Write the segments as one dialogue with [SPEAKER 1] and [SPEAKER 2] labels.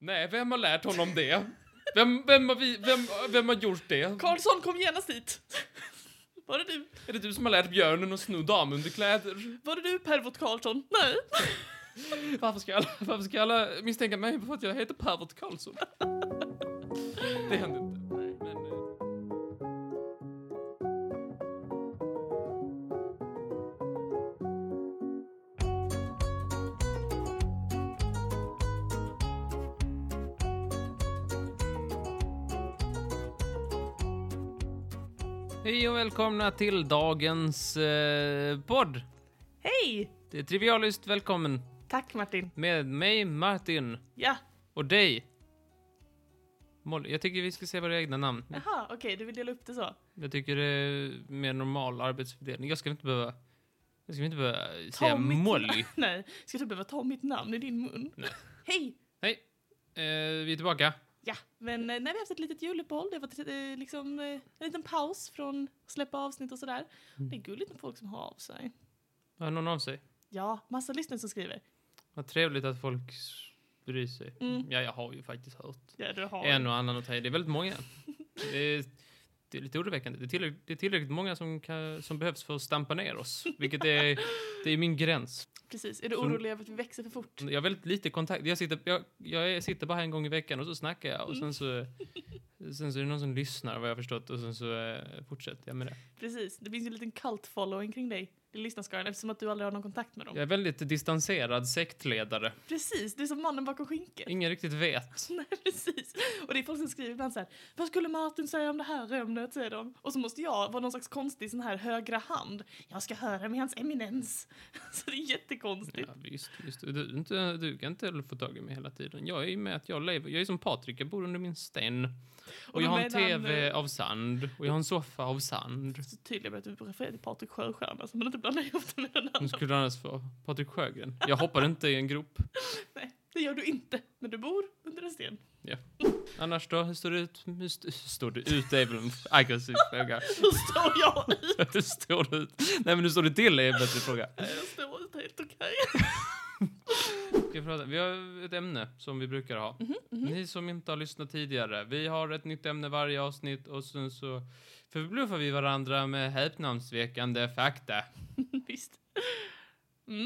[SPEAKER 1] Nej, vem har lärt honom det? Vem, vem, har, vi, vem, vem har gjort det?
[SPEAKER 2] Karlsson kom genast hit. Var det du?
[SPEAKER 1] Är det du som har lärt björnen att sno damunderkläder?
[SPEAKER 2] Var det du Pervot Karlsson? Nej.
[SPEAKER 1] Varför ska alla, varför ska alla misstänka mig för att jag heter Pervert Karlsson? Det händer inte. Men, eh,
[SPEAKER 3] Hej och välkomna till dagens eh, podd.
[SPEAKER 2] Hej!
[SPEAKER 3] Det är Trivialist välkommen
[SPEAKER 2] Tack Martin.
[SPEAKER 3] med mig Martin
[SPEAKER 2] Ja.
[SPEAKER 3] och dig. Molly, jag tycker vi ska se våra egna namn.
[SPEAKER 2] Jaha, okej, du vill dela upp det så.
[SPEAKER 3] Jag tycker det är mer normal arbetsfördelning. Jag ska inte behöva, jag ska inte behöva
[SPEAKER 2] Ta
[SPEAKER 3] säga
[SPEAKER 2] mitt-
[SPEAKER 3] Molly.
[SPEAKER 2] Nej, ska du behöva ta mitt namn i din mun?
[SPEAKER 3] Nej.
[SPEAKER 2] Hej!
[SPEAKER 3] Hej, eh, vi är tillbaka.
[SPEAKER 2] Ja, men eh, nej, vi har haft ett litet juluppehåll. Det har varit eh, liksom, eh, en liten paus från att släppa avsnitt och sådär.
[SPEAKER 3] Mm.
[SPEAKER 2] Det är gulligt med folk som hör av sig.
[SPEAKER 3] Hör någon av sig?
[SPEAKER 2] Ja, massa lyssnare som skriver.
[SPEAKER 3] Vad trevligt att folk bryr sig.
[SPEAKER 2] Mm.
[SPEAKER 3] Ja, jag har ju faktiskt hört
[SPEAKER 2] Ja, du har.
[SPEAKER 3] en och annan att säga. Det är väldigt många. Det är, det är lite oroväckande. Det är tillräckligt, det är tillräckligt många som, kan, som behövs för att stampa ner oss, vilket är, det är min gräns.
[SPEAKER 2] Precis. Är du
[SPEAKER 3] Så-
[SPEAKER 2] orolig över att vi växer för fort?
[SPEAKER 3] Jag har väldigt lite kontakt. Jag sitter, jag, jag är- sitter bara här en gång i veckan och så snackar jag och sen så, sen så är det någon som lyssnar vad jag har förstått och sen så eh, fortsätter jag med det.
[SPEAKER 2] Precis. Det finns ju en liten cult-following kring dig. I lyssnarskaran eftersom att du aldrig har någon kontakt med dem.
[SPEAKER 3] Jag är väldigt distanserad sektledare.
[SPEAKER 2] Precis, du är som mannen bakom skinket.
[SPEAKER 3] Ingen riktigt vet.
[SPEAKER 2] Nej, precis. Och det är folk som skriver ibland så här, vad skulle Martin säga om det här ämnet, säger de. Och så måste jag vara någon slags konstig sån här högra hand. Jag ska höra med hans eminens. Så det är jättekonstigt.
[SPEAKER 3] Ja, visst, visst. Du, är inte, du kan inte få tag i mig hela tiden. Jag är ju med att jag lever. Jag är som Patrik, jag bor under min sten. Och,
[SPEAKER 2] Och
[SPEAKER 3] jag
[SPEAKER 2] då
[SPEAKER 3] har en
[SPEAKER 2] menar han,
[SPEAKER 3] tv
[SPEAKER 2] eh,
[SPEAKER 3] av sand. Och jag har en soffa av sand.
[SPEAKER 2] Så tydligt med att du refererar till Patrik Sjöstjärna så man inte blandar ihop det med den
[SPEAKER 3] Hon
[SPEAKER 2] andra.
[SPEAKER 3] skulle annars få Patrik Sjögren. Jag hoppar inte i en grop.
[SPEAKER 2] Nej, det gör du inte. Men du bor under en sten.
[SPEAKER 3] Annars då, hur står det ut? Hur st- står det ut? Det är väl en aggressiv fråga.
[SPEAKER 2] Då står jag i.
[SPEAKER 3] Hur står det ut? Nej men hur står det till är en bättre fråga.
[SPEAKER 2] Jag står ut helt okej.
[SPEAKER 3] Ska jag prata? Vi har ett ämne som vi brukar ha. Ni som inte har lyssnat tidigare. Vi har ett nytt ämne varje avsnitt och sen så förbluffar vi varandra med häpnadsväckande fakta.
[SPEAKER 2] Visst.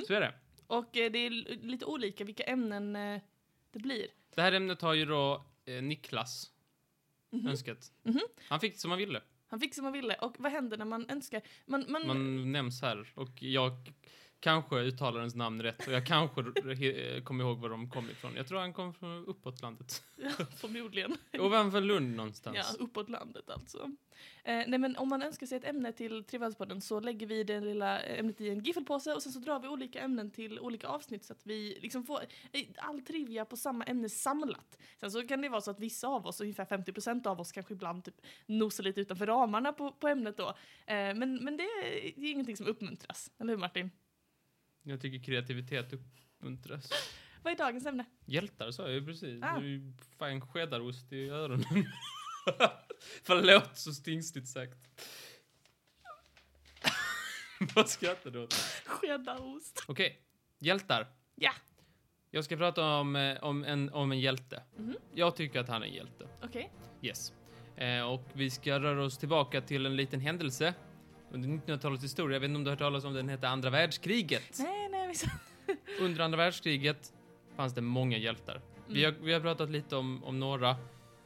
[SPEAKER 3] Så är det.
[SPEAKER 2] Och eh, det är l- lite olika vilka ämnen eh, det blir.
[SPEAKER 3] Det här ämnet har ju då eh, Niklas önskat. Han fick som han ville.
[SPEAKER 2] Han fick som han ville. Och vad händer när man önskar? Man, man,
[SPEAKER 3] Man nämns här och jag k- kanske uttalar ens namn rätt och jag kanske r- eh, kommer ihåg var de kom ifrån. Jag tror han kom från uppåt landet.
[SPEAKER 2] Ja, förmodligen.
[SPEAKER 3] Ovanför Lund
[SPEAKER 2] Ja,
[SPEAKER 3] någonstans.
[SPEAKER 2] uppåt landet alltså. Eh, nej men om man önskar sig ett ämne till Trivialspodden så lägger vi det lilla ämnet i en giffelpåse och sen så drar vi olika ämnen till olika avsnitt så att vi liksom får eh, all trivia på samma ämne samlat. Sen så kan det vara så att vissa av oss, ungefär 50% av oss kanske ibland typ nosar lite utanför ramarna på, på ämnet då. Eh, men, men det är, det är ingenting som uppmuntras, eller hur Martin?
[SPEAKER 3] Jag tycker kreativitet uppmuntras.
[SPEAKER 2] Vad är dagens ämne?
[SPEAKER 3] Hjältar sa jag ju precis.
[SPEAKER 2] Ah.
[SPEAKER 3] Du är ju fan skedarost i öronen. Förlåt så stingsligt sagt. Vad skrattar du åt?
[SPEAKER 2] Skedaost.
[SPEAKER 3] Okej, hjältar.
[SPEAKER 2] Ja.
[SPEAKER 3] Jag ska prata om, eh, om, en, om en hjälte.
[SPEAKER 2] Mhm.
[SPEAKER 3] Jag tycker att han är en hjälte.
[SPEAKER 2] Okej.
[SPEAKER 3] Yes. Eh, och vi ska röra oss tillbaka till en liten händelse under 1900-talets historia. Jag vet inte om du har hört talas om den, den hette andra världskriget.
[SPEAKER 2] Nej, nej, vi
[SPEAKER 3] Under andra världskriget fanns det många hjältar. Vi, har, vi har pratat lite om, om några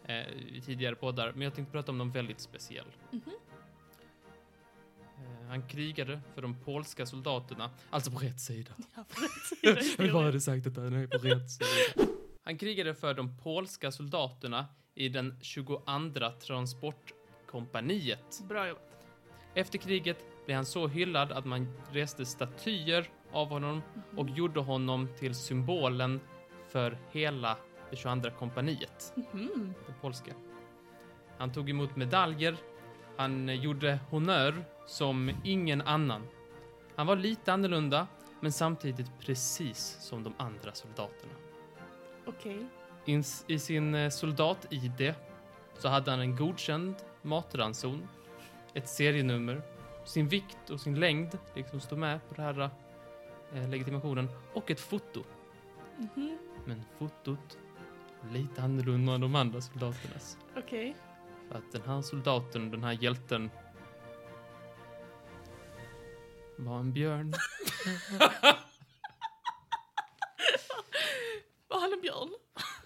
[SPEAKER 3] eh, i tidigare poddar, men jag tänkte prata om någon väldigt speciell.
[SPEAKER 2] Mhm.
[SPEAKER 3] Eh, han krigade för de polska soldaterna, alltså på rätt sida.
[SPEAKER 2] Ja, precis.
[SPEAKER 3] Jag vill bara ha det sagt att han är på rätt sida. Han krigade för de polska soldaterna i den 22 transportkompaniet.
[SPEAKER 2] Bra jobbat.
[SPEAKER 3] Efter kriget blev han så hyllad att man reste statyer av honom och gjorde honom till symbolen för hela det 22 kompaniet,
[SPEAKER 2] Mhm.
[SPEAKER 3] det polska. Han tog emot medaljer, han eh, gjorde honnör som ingen annan. Han var lite annorlunda, men samtidigt precis som de andra soldaterna.
[SPEAKER 2] Okej.
[SPEAKER 3] Ins- I sin eh, soldat-id så hade han en godkänd matranson, ett serienummer, sin vikt och sin längd, liksom står med på den här eh, legitimationen, och ett foto.
[SPEAKER 2] Mhm.
[SPEAKER 3] Men fotot lite annorlunda än de andra soldaternas.
[SPEAKER 4] Okej.
[SPEAKER 3] För att den här soldaten, den här hjälten var en björn.
[SPEAKER 4] Var han en björn?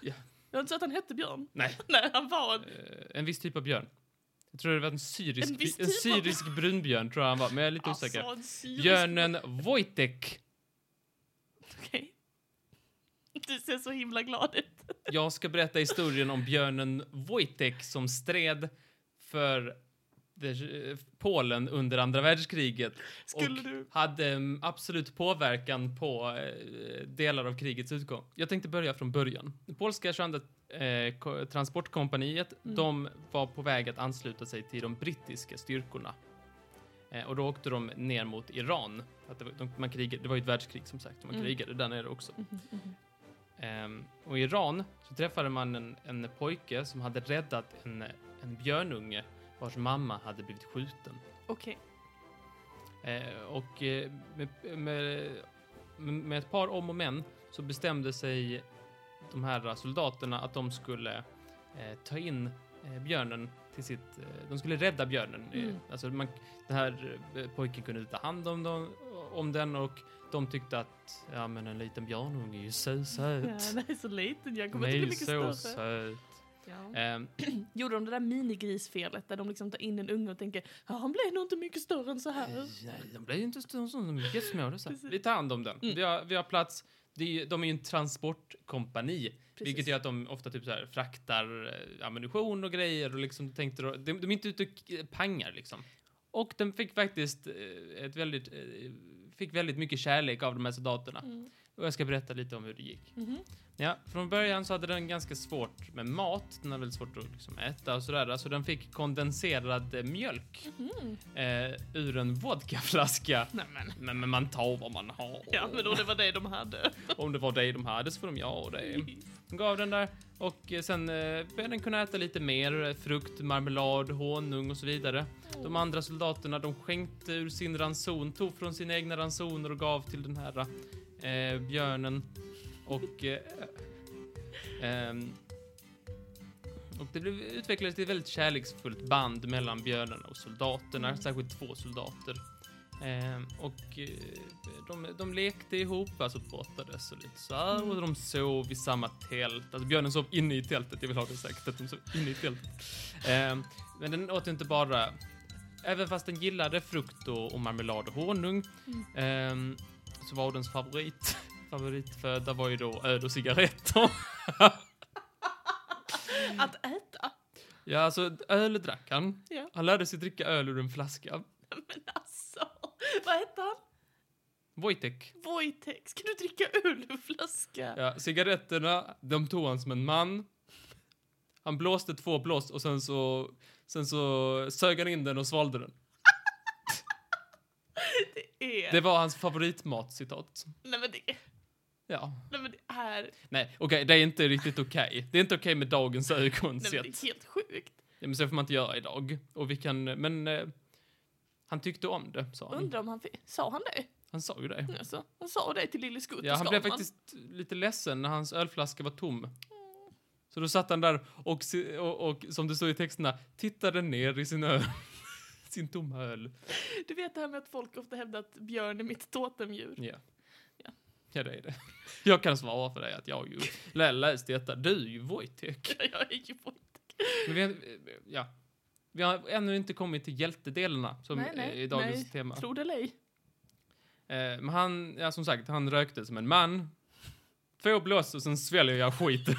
[SPEAKER 3] Ja.
[SPEAKER 4] Jag har inte sagt att han hette Björn.
[SPEAKER 3] Nej.
[SPEAKER 4] Nej, han var en...
[SPEAKER 3] Eh, En viss typ av björn. Jag tror det var en syrisk,
[SPEAKER 4] En viss
[SPEAKER 3] en
[SPEAKER 4] typ av-
[SPEAKER 3] syrisk brunbjörn tror jag han var, men jag är lite osäker.
[SPEAKER 4] Alltså, en syrisk...
[SPEAKER 3] Björnen Wojtek.
[SPEAKER 4] Okej. Du ser så himla glad ut.
[SPEAKER 3] Jag ska berätta historien om björnen Wojtek som stred för det- eh, Polen under andra världskriget
[SPEAKER 4] Skulle
[SPEAKER 3] och
[SPEAKER 4] du...
[SPEAKER 3] hade mm, absolut påverkan på eh, delar av krigets utgång. Jag tänkte börja från början. Det polska 22 eh, ko- transportkompaniet,
[SPEAKER 4] Mm.
[SPEAKER 3] de var på väg att ansluta sig till de brittiska styrkorna. Eh, och då åkte de ner mot Iran. Att det, var, de, man krigade, det var ju ett världskrig som sagt, man
[SPEAKER 4] Mm.
[SPEAKER 3] krigade där nere också. Ehm, och i Iran så träffade man en, en pojke som hade räddat en, en björnunge vars mamma hade blivit skjuten.
[SPEAKER 4] Okej.
[SPEAKER 3] Eh, och eh, med, med, med ett par om och men så bestämde sig de här soldaterna att de skulle eh, ta in eh, björnen till sitt... Eh, de skulle rädda björnen. Eh,
[SPEAKER 4] Mm.
[SPEAKER 3] alltså man, den här eh, pojken kunde inte ta hand om, dem, om den och de tyckte att ja, men en liten björnunge är ju så söt.
[SPEAKER 4] Ja, den är så liten. Jag kommer
[SPEAKER 3] Den är
[SPEAKER 4] inte
[SPEAKER 3] ju
[SPEAKER 4] bli mycket
[SPEAKER 3] så
[SPEAKER 4] större.
[SPEAKER 3] söt.
[SPEAKER 4] Ja.
[SPEAKER 3] Ehm,
[SPEAKER 4] Gjorde de det där minigrisfelet där de liksom tar in en unge och tänker ja, han blev nog inte mycket större än så här.
[SPEAKER 3] Nej, de blir ju inte så, så de är jättesmå. Så.
[SPEAKER 4] Precis.
[SPEAKER 3] Vi tar hand om den.
[SPEAKER 4] Mm.
[SPEAKER 3] Vi, har, vi har plats. Det är, ju- de är ju en transportkompani, vilket gör att de ofta typ så här fraktar eh, ammunition och grejer och liksom tänkte då, de, de är inte ute och k- pangar liksom. Och den fick faktiskt eh, ett väldigt, eh, fick väldigt mycket kärlek av de här soldaterna.
[SPEAKER 4] Mm.
[SPEAKER 3] Och jag ska berätta lite om hur det gick.
[SPEAKER 4] Mhm.
[SPEAKER 3] Ja, från början så hade den ganska svårt med mat. Den hade väldigt svårt att liksom äta och sådär. Så den fick kondenserad eh, mjölk
[SPEAKER 4] Mm.
[SPEAKER 3] eh, ur en vodkaflaska.
[SPEAKER 4] Nej men.
[SPEAKER 3] Men, men man tar vad man har.
[SPEAKER 4] Ja men då det var det de hade.
[SPEAKER 3] Om det var det de hade så får de ja det. De gav den där och eh, sen eh, började den kunna äta lite mer eh, frukt, marmelad, honung och så vidare. De andra soldaterna de skänkte ur sin ranson, tog från sina egna ransoner och gav till den här eh, björnen. Och... Eh, ehm, och det blev- utvecklades till ett väldigt kärleksfullt band mellan björnarna och soldaterna,
[SPEAKER 4] Mm.
[SPEAKER 3] särskilt två soldater. Ehm, och eh, de, de lekte ihop, alltså brottades och lite så här,
[SPEAKER 4] Mm.
[SPEAKER 3] och de sov i samma tält. Alltså björnen sov inne i tältet, jag vill ha det sagt att de sov inne i tältet. Ehm, men den åt inte bara, även fast den gillade frukt och, och marmelad och honung,
[SPEAKER 4] Mm.
[SPEAKER 3] ehm, så var dens favorit, favoritföda var ju då öl och cigaretter.
[SPEAKER 4] Att äta.
[SPEAKER 3] Ja, alltså öl drack han.
[SPEAKER 4] Ja.
[SPEAKER 3] Han lärde sig dricka öl ur en flaska.
[SPEAKER 4] Men alltså. Vad hette han?
[SPEAKER 3] Wojtek.
[SPEAKER 4] Wojtek. Ska du dricka öl ur flaska?
[SPEAKER 3] Ja, cigaretterna, de tog han som en man. Han blåste två blås och sen så, sen så sög han in den och svalde den.
[SPEAKER 4] Det är...
[SPEAKER 3] Det var hans favoritmat, citat.
[SPEAKER 4] Nej men det...
[SPEAKER 3] Ja.
[SPEAKER 4] Nej men det är...
[SPEAKER 3] Nej, okej, det är inte riktigt okej. Det är inte okej med dagens ögon
[SPEAKER 4] Nej men det
[SPEAKER 3] sett.
[SPEAKER 4] är helt sjukt.
[SPEAKER 3] Ja, men så får man inte göra idag. Och vi kan, men... Eh, han tyckte om det, sa han.
[SPEAKER 4] Undrar om han... fi- Sa han det?
[SPEAKER 3] Han sa ju det.
[SPEAKER 4] Alltså, han sa det till Lille Skutt
[SPEAKER 3] Ja,
[SPEAKER 4] och
[SPEAKER 3] han blev
[SPEAKER 4] Skavlan.
[SPEAKER 3] faktiskt lite ledsen när hans ölflaska var tom. Så då satt han där och, se- och, och som det står i texterna, tittade ner i sin öl. sin tomma öl.
[SPEAKER 4] Du vet det här med att folk ofta hävdar att björn är mitt totemdjur.
[SPEAKER 3] Ja.
[SPEAKER 4] Ja.
[SPEAKER 3] Ja, det är det. Jag kan svara för dig att jag ju lä- läst detta. Du är ju Wojtek.
[SPEAKER 4] Jag är ju Wojtek.
[SPEAKER 3] Men vi, har- ja. Vi har ännu inte kommit till hjältedelarna som
[SPEAKER 4] Nej, nej,
[SPEAKER 3] är dagens
[SPEAKER 4] nej.
[SPEAKER 3] tema.
[SPEAKER 4] Tror det eller ej.
[SPEAKER 3] Eh, men han, ja som sagt, han rökte som en man. Två blås och sen sväljer jag skiten.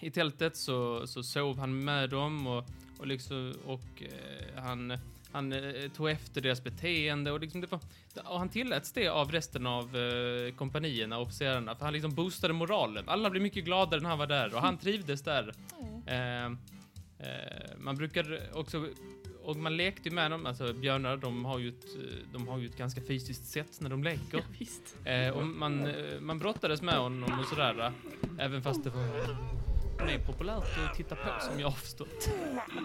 [SPEAKER 3] I tältet så, så sov han med dem och, och liksom, och eh, han, han eh, tog efter deras beteende och liksom det var, och han tilläts det av resten av eh, kompanierna och officerarna för han liksom boostade moralen. Alla blev mycket gladare när han var där och han trivdes där. Eh, eh, man brukar också och man lekte ju med dem, alltså björnar de har ju ett, eh, de har ju ett ganska fysiskt sätt när de leker.
[SPEAKER 4] Ja, visst.
[SPEAKER 3] Eh, och man, eh, man brottades med honom och sådär. eh, Även fast det var det är populärt att titta på som jag har förstått.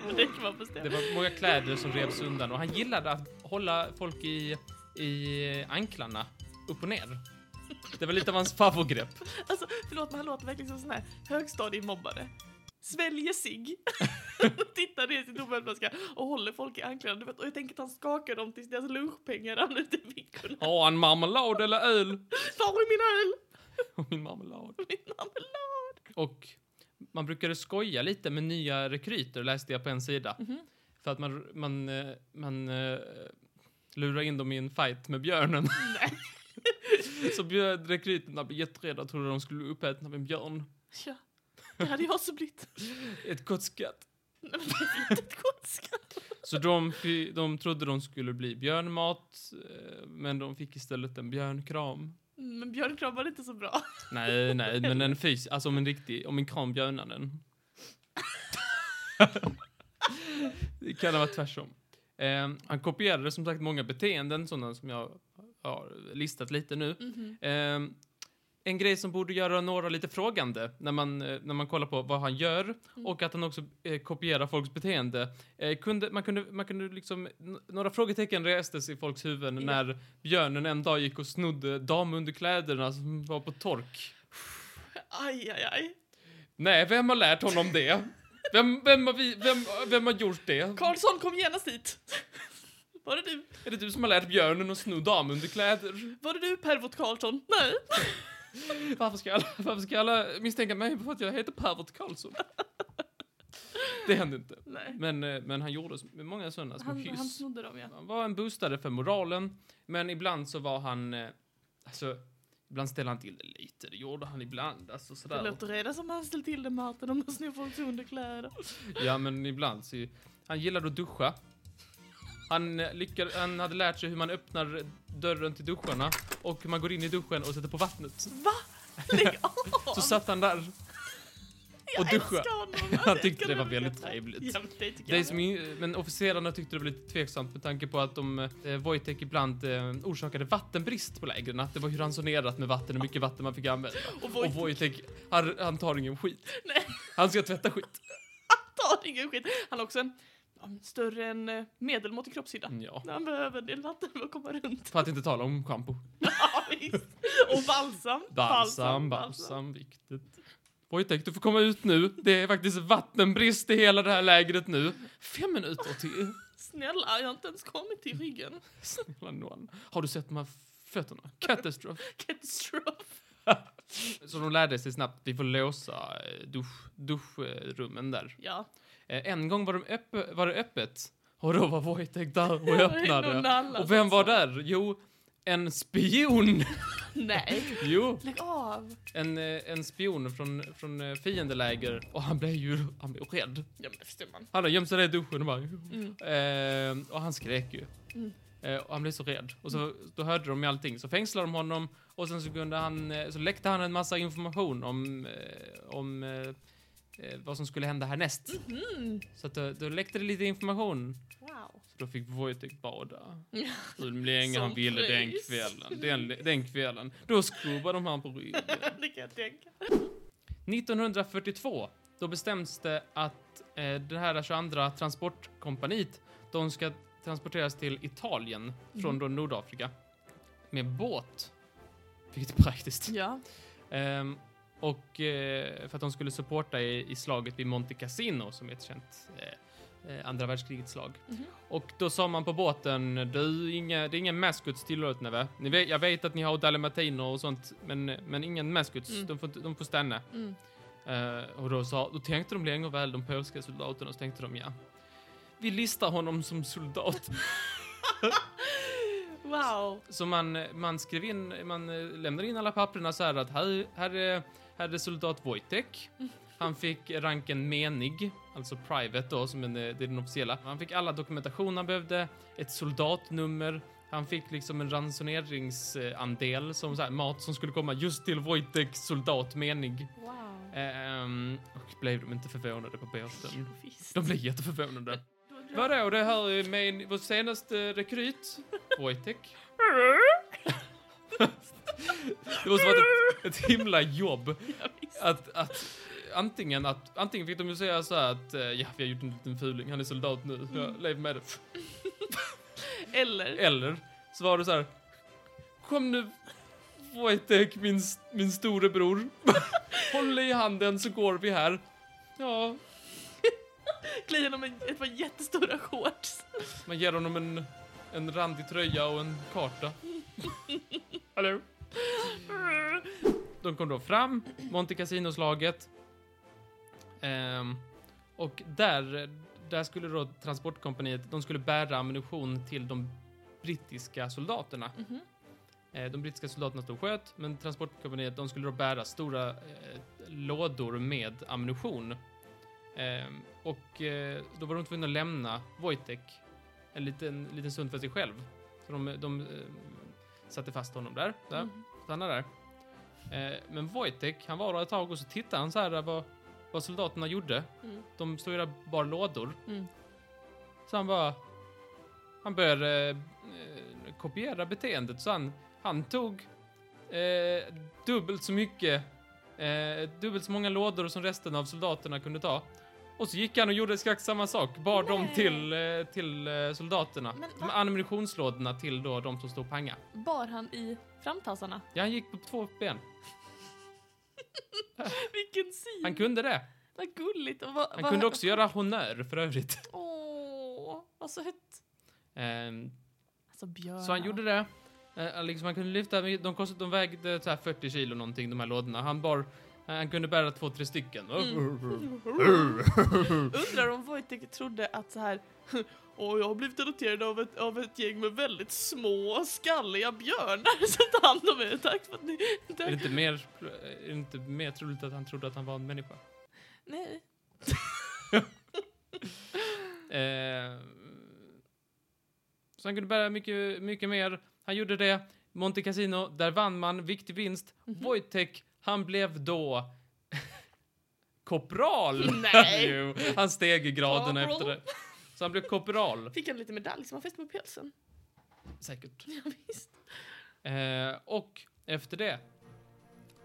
[SPEAKER 4] Men det kan man bestämma.
[SPEAKER 3] Det var många kläder som revs undan och han gillade att hålla folk i, i anklarna upp och ner. Det var lite av hans favvogrepp.
[SPEAKER 2] Alltså, förlåt men han låter verkligen som en sån här högstadiemobbare. Sväljer sig. Tittar ner i sin tomhetsflaska och håller folk i anklarna. Du vet, och jag tänker att han skakar dem tills deras lunchpengar ramlar ut i fickorna.
[SPEAKER 3] Har han marmelad eller öl?
[SPEAKER 2] Var är min öl?
[SPEAKER 3] Och min marmelad.
[SPEAKER 2] Min marmelad!
[SPEAKER 3] Och man brukade skoja lite med nya rekryter, läste jag på en sida.
[SPEAKER 2] Mhm.
[SPEAKER 3] För att man, man, eh, man eh, lurar in dem i en fight med björnen.
[SPEAKER 2] Nej.
[SPEAKER 3] Så bjöd rekryterna blev jätterädda och trodde de skulle bli uppätna av en björn.
[SPEAKER 2] Ja, det hade jag också blivit.
[SPEAKER 3] Ett gott skatt.
[SPEAKER 2] Nej, men det är inte ett gott skratt.
[SPEAKER 3] Så de, fi- de trodde de skulle bli björnmat, eh, men de fick istället en björnkram.
[SPEAKER 2] Mm, Men björnkram var inte så bra.
[SPEAKER 3] Nej, nej, men en fys, alltså om en riktig, om en kram björnar den. det kan ha varit tvärtom. Eh, han kopierade som sagt många beteenden, sådana som jag har listat lite nu.
[SPEAKER 2] Mhm.
[SPEAKER 3] Ehm, en grej som borde göra några lite frågande när man, eh, när man kollar på vad han gör
[SPEAKER 2] Mm.
[SPEAKER 3] och att han också eh, kopierar folks beteende. Eh, kunde, man, kunde, man kunde liksom, n- några frågetecken restes i folks huvuden
[SPEAKER 2] Ja.
[SPEAKER 3] när björnen en dag gick och snodde damunderkläderna som var på tork.
[SPEAKER 2] Aj, aj, aj.
[SPEAKER 3] Nej, vem har lärt honom det? Vem, vem, har, vi, vem, vem har gjort det?
[SPEAKER 2] Karlsson, kom genast hit. Var det du?
[SPEAKER 3] Är det du som har lärt björnen att sno damunderkläder?
[SPEAKER 2] Var det du, pervot Karlsson? Nej.
[SPEAKER 5] Varför ska, alla, varför ska alla misstänka mig för att jag heter Pervert Karlsson?
[SPEAKER 3] Det hände inte.
[SPEAKER 2] Nej.
[SPEAKER 3] Men, eh, men han gjorde s- många sådana små
[SPEAKER 2] Han,
[SPEAKER 3] hyss.
[SPEAKER 2] han snodde dem, ja.
[SPEAKER 3] Han var en boostare för moralen, men ibland så var han... eh, Alltså, ibland ställde han till det lite. Det gjorde han ibland. Alltså,
[SPEAKER 2] Det
[SPEAKER 3] sådär.
[SPEAKER 2] låter redan som han ställt till det Martin om han snor folks underkläder.
[SPEAKER 3] Ja, men ibland så... Han gillade att duscha. Han, eh, lyckade, han hade lärt sig hur man öppnar dörren till duscharna och hur man går in i duschen och sätter på vattnet.
[SPEAKER 2] Va? Lägg av!
[SPEAKER 3] Så satt han där. och
[SPEAKER 2] Jag
[SPEAKER 3] duscha.
[SPEAKER 2] älskar honom.
[SPEAKER 3] Han tyckte
[SPEAKER 2] Jag
[SPEAKER 3] det var
[SPEAKER 2] älskar
[SPEAKER 3] väldigt
[SPEAKER 2] honom.
[SPEAKER 3] trevligt.
[SPEAKER 2] Ja, men det tycker
[SPEAKER 3] Det
[SPEAKER 2] jag
[SPEAKER 3] som, ju- men officerarna tyckte det var lite tveksamt med tanke på att de, eh, Wojtek ibland eh, orsakade vattenbrist på lägren. Att det var ju ransonerat med vatten och mycket vatten man fick använda.
[SPEAKER 2] Och Wojtek-
[SPEAKER 3] Och Wojtek han, han tar ingen skit.
[SPEAKER 2] Nej.
[SPEAKER 3] Han ska tvätta skit.
[SPEAKER 2] tar ingen skit. Han har också en ja, men större än eh, medelmåttig kroppshydda.
[SPEAKER 3] Ja.
[SPEAKER 2] Han behöver en del vatten för att komma runt.
[SPEAKER 3] För att inte tala om schampo.
[SPEAKER 2] Ja, visst. Och balsam.
[SPEAKER 3] Balsam, balsam, viktigt. Wojtek, du får komma ut nu. Det är faktiskt vattenbrist i hela det här lägret nu. Fem minuter till.
[SPEAKER 2] Snälla, jag har inte ens kommit till ryggen.
[SPEAKER 3] Snälla nån. Har du sett de här fötterna? Katastrof.
[SPEAKER 2] Katastrof.
[SPEAKER 3] Så de lärde sig snabbt, vi får låsa eh, dusch, duschrummen där.
[SPEAKER 2] Ja.
[SPEAKER 3] Eh, En gång var, de öpp- var det öppet och då var Wojtek där och
[SPEAKER 2] Det är någon
[SPEAKER 3] öppnade.
[SPEAKER 2] annan
[SPEAKER 3] Och vem
[SPEAKER 2] som
[SPEAKER 3] var
[SPEAKER 2] sa-
[SPEAKER 3] där? Jo, en spion!
[SPEAKER 2] Nej.
[SPEAKER 3] Jo,
[SPEAKER 2] Lägg av.
[SPEAKER 3] en, eh, en spion från, från eh, fiendeläger. Och han blev ju han blev rädd.
[SPEAKER 2] Ja, men det förstår man.
[SPEAKER 3] Han har gömt sig där i duschen och bara...
[SPEAKER 2] Mm.
[SPEAKER 3] Eh, och han skrek ju.
[SPEAKER 2] Mm.
[SPEAKER 3] Eh, och han blev så rädd. Och så, då hörde de ju allting. Så fängslade de honom och sen så, kunde han, eh, så läckte han en massa information om, eh, om eh, eh, vad som skulle hända härnäst.
[SPEAKER 2] Mm.
[SPEAKER 3] Så att, då, då läckte det lite information.
[SPEAKER 2] Wow.
[SPEAKER 3] Så då fick Wojtek bada.
[SPEAKER 2] Ja.
[SPEAKER 3] Hur länge
[SPEAKER 2] Som
[SPEAKER 3] han ville den
[SPEAKER 2] pris.
[SPEAKER 3] kvällen. Den, den kvällen. Då skrubbade de han på ryggen.
[SPEAKER 2] Det kan jag tänka.
[SPEAKER 3] 1942, då bestäms det att eh, det här 22 transportkompaniet, de ska transporteras till Italien från
[SPEAKER 2] Mm.
[SPEAKER 3] då Nordafrika med båt. Vilket är praktiskt.
[SPEAKER 2] Ja.
[SPEAKER 3] Ehm, och eh, för att de skulle supporta i, i slaget vid Monte Cassino som är ett känt eh, eh, andra världskrigets slag.
[SPEAKER 2] Mhm.
[SPEAKER 3] Och då sa man på båten, du, inga, det är ingen mascots tillåtna va? Ni vet, jag vet att ni har dalmatiner och sånt, men, men ingen mascots,
[SPEAKER 2] Mm.
[SPEAKER 3] de, får, inte- de får stanna.
[SPEAKER 2] Mm.
[SPEAKER 3] Eh, och då, sa, då tänkte de länge och väl, de polska soldaterna, och så tänkte de ja. Vi listar honom som soldat.
[SPEAKER 2] Wow.
[SPEAKER 3] Så man, man skrev in, man eh, lämnade in alla papperna så här att här, här, är- här är soldat Wojtek. Han fick ranken menig, alltså private då, som en, eh, det är den officiella. Han fick alla dokumentation han behövde, ett soldatnummer, han fick liksom en ransoneringsandel som så här, mat som skulle komma just till Wojtek soldat menig.
[SPEAKER 2] Wow.
[SPEAKER 3] Ehm, och blev de inte förvånade på båten?
[SPEAKER 2] Visst.
[SPEAKER 3] De blev jätteförvånade.
[SPEAKER 2] Då drar-
[SPEAKER 3] Vadå, det här är min, vår senaste rekryt, Wojtek. Det måste typ- varit ett, ett himla jobb
[SPEAKER 2] Ja, visst.
[SPEAKER 3] att, att antingen att antingen fick de ju säga så här att eh, ja, vi har gjort en liten fuling, han är soldat nu, jag lever med det.
[SPEAKER 2] Eller?
[SPEAKER 3] Eller så var det så här, kom nu
[SPEAKER 6] Wojtek, min, s- min storebror. Håll i handen så går vi här. Ja,
[SPEAKER 2] Kliar honom med ett par jättestora shorts.
[SPEAKER 6] man ger honom en, en randig tröja och en karta. Hallå?
[SPEAKER 3] De kom då fram, Monte Casinoslaget. Ehm, och där, där skulle då transportkompaniet, de skulle bära ammunition till de brittiska soldaterna.
[SPEAKER 2] Mhm.
[SPEAKER 3] Eh, de brittiska soldaterna stod och sköt, men transportkompaniet, de skulle då bära stora eh, lådor med ammunition. Ehm, och eh, då var de tvungna att lämna Wojtek en liten, liten stund för sig själv. Så de, de eh, satte fast honom där. där
[SPEAKER 2] Mm.
[SPEAKER 3] stanna där. Eh, men Wojtek, han var där ett tag och så tittade han så här vad, vad soldaterna gjorde.
[SPEAKER 2] Mm.
[SPEAKER 3] De stod ju där bara lådor.
[SPEAKER 2] Mm.
[SPEAKER 3] Så han bara... Han började eh, eh, kopiera beteendet så han, han tog eh, dubbelt så mycket, eh, dubbelt så många lådor som resten av soldaterna kunde ta. Och så gick han och gjorde exakt samma sak, bar dem
[SPEAKER 2] Nej.
[SPEAKER 3] till, eh, till eh, soldaterna.
[SPEAKER 2] Men
[SPEAKER 3] De
[SPEAKER 2] va?
[SPEAKER 3] ammunitionslådorna till då de som stod och panga.
[SPEAKER 2] Bar han i framtassarna?
[SPEAKER 3] Ja, han gick på två ben.
[SPEAKER 2] Vilken syn!
[SPEAKER 3] Han kunde det.
[SPEAKER 2] Vad gulligt. Och vad,
[SPEAKER 3] Han
[SPEAKER 2] vad,
[SPEAKER 3] kunde också göra honnör för övrigt.
[SPEAKER 2] Åh, vad sött.
[SPEAKER 3] Ehm,
[SPEAKER 2] Alltså björnar.
[SPEAKER 3] så han gjorde det. Eh, liksom han kunde lyfta, de, kostade, de vägde så här 40 kilo någonting de här lådorna. Han bar, eh, han kunde bära två, tre stycken. Mm.
[SPEAKER 2] Undrar om Wojtek trodde att så här... Åh, jag har blivit adopterad av ett, av ett gäng med väldigt små, skalliga björnar som tar hand om mig. Tack för att ni...
[SPEAKER 3] Är det
[SPEAKER 2] Tack.
[SPEAKER 3] inte mer, är det inte mer troligt att han trodde att han var en människa?
[SPEAKER 2] Nej.
[SPEAKER 3] Ehm, så han kunde bära mycket, mycket mer. Han gjorde det. Monte Casino, där vann man. Viktig vinst. Wojtek, han blev då kopral.
[SPEAKER 2] Nej.
[SPEAKER 3] Jo, han steg i graderna
[SPEAKER 2] Korpral.
[SPEAKER 3] efter det. Så han blev kopral,
[SPEAKER 2] Fick han lite medalj som han fäste på pälsen?
[SPEAKER 3] säkert.
[SPEAKER 2] Ja, visst.
[SPEAKER 3] Eh, och efter det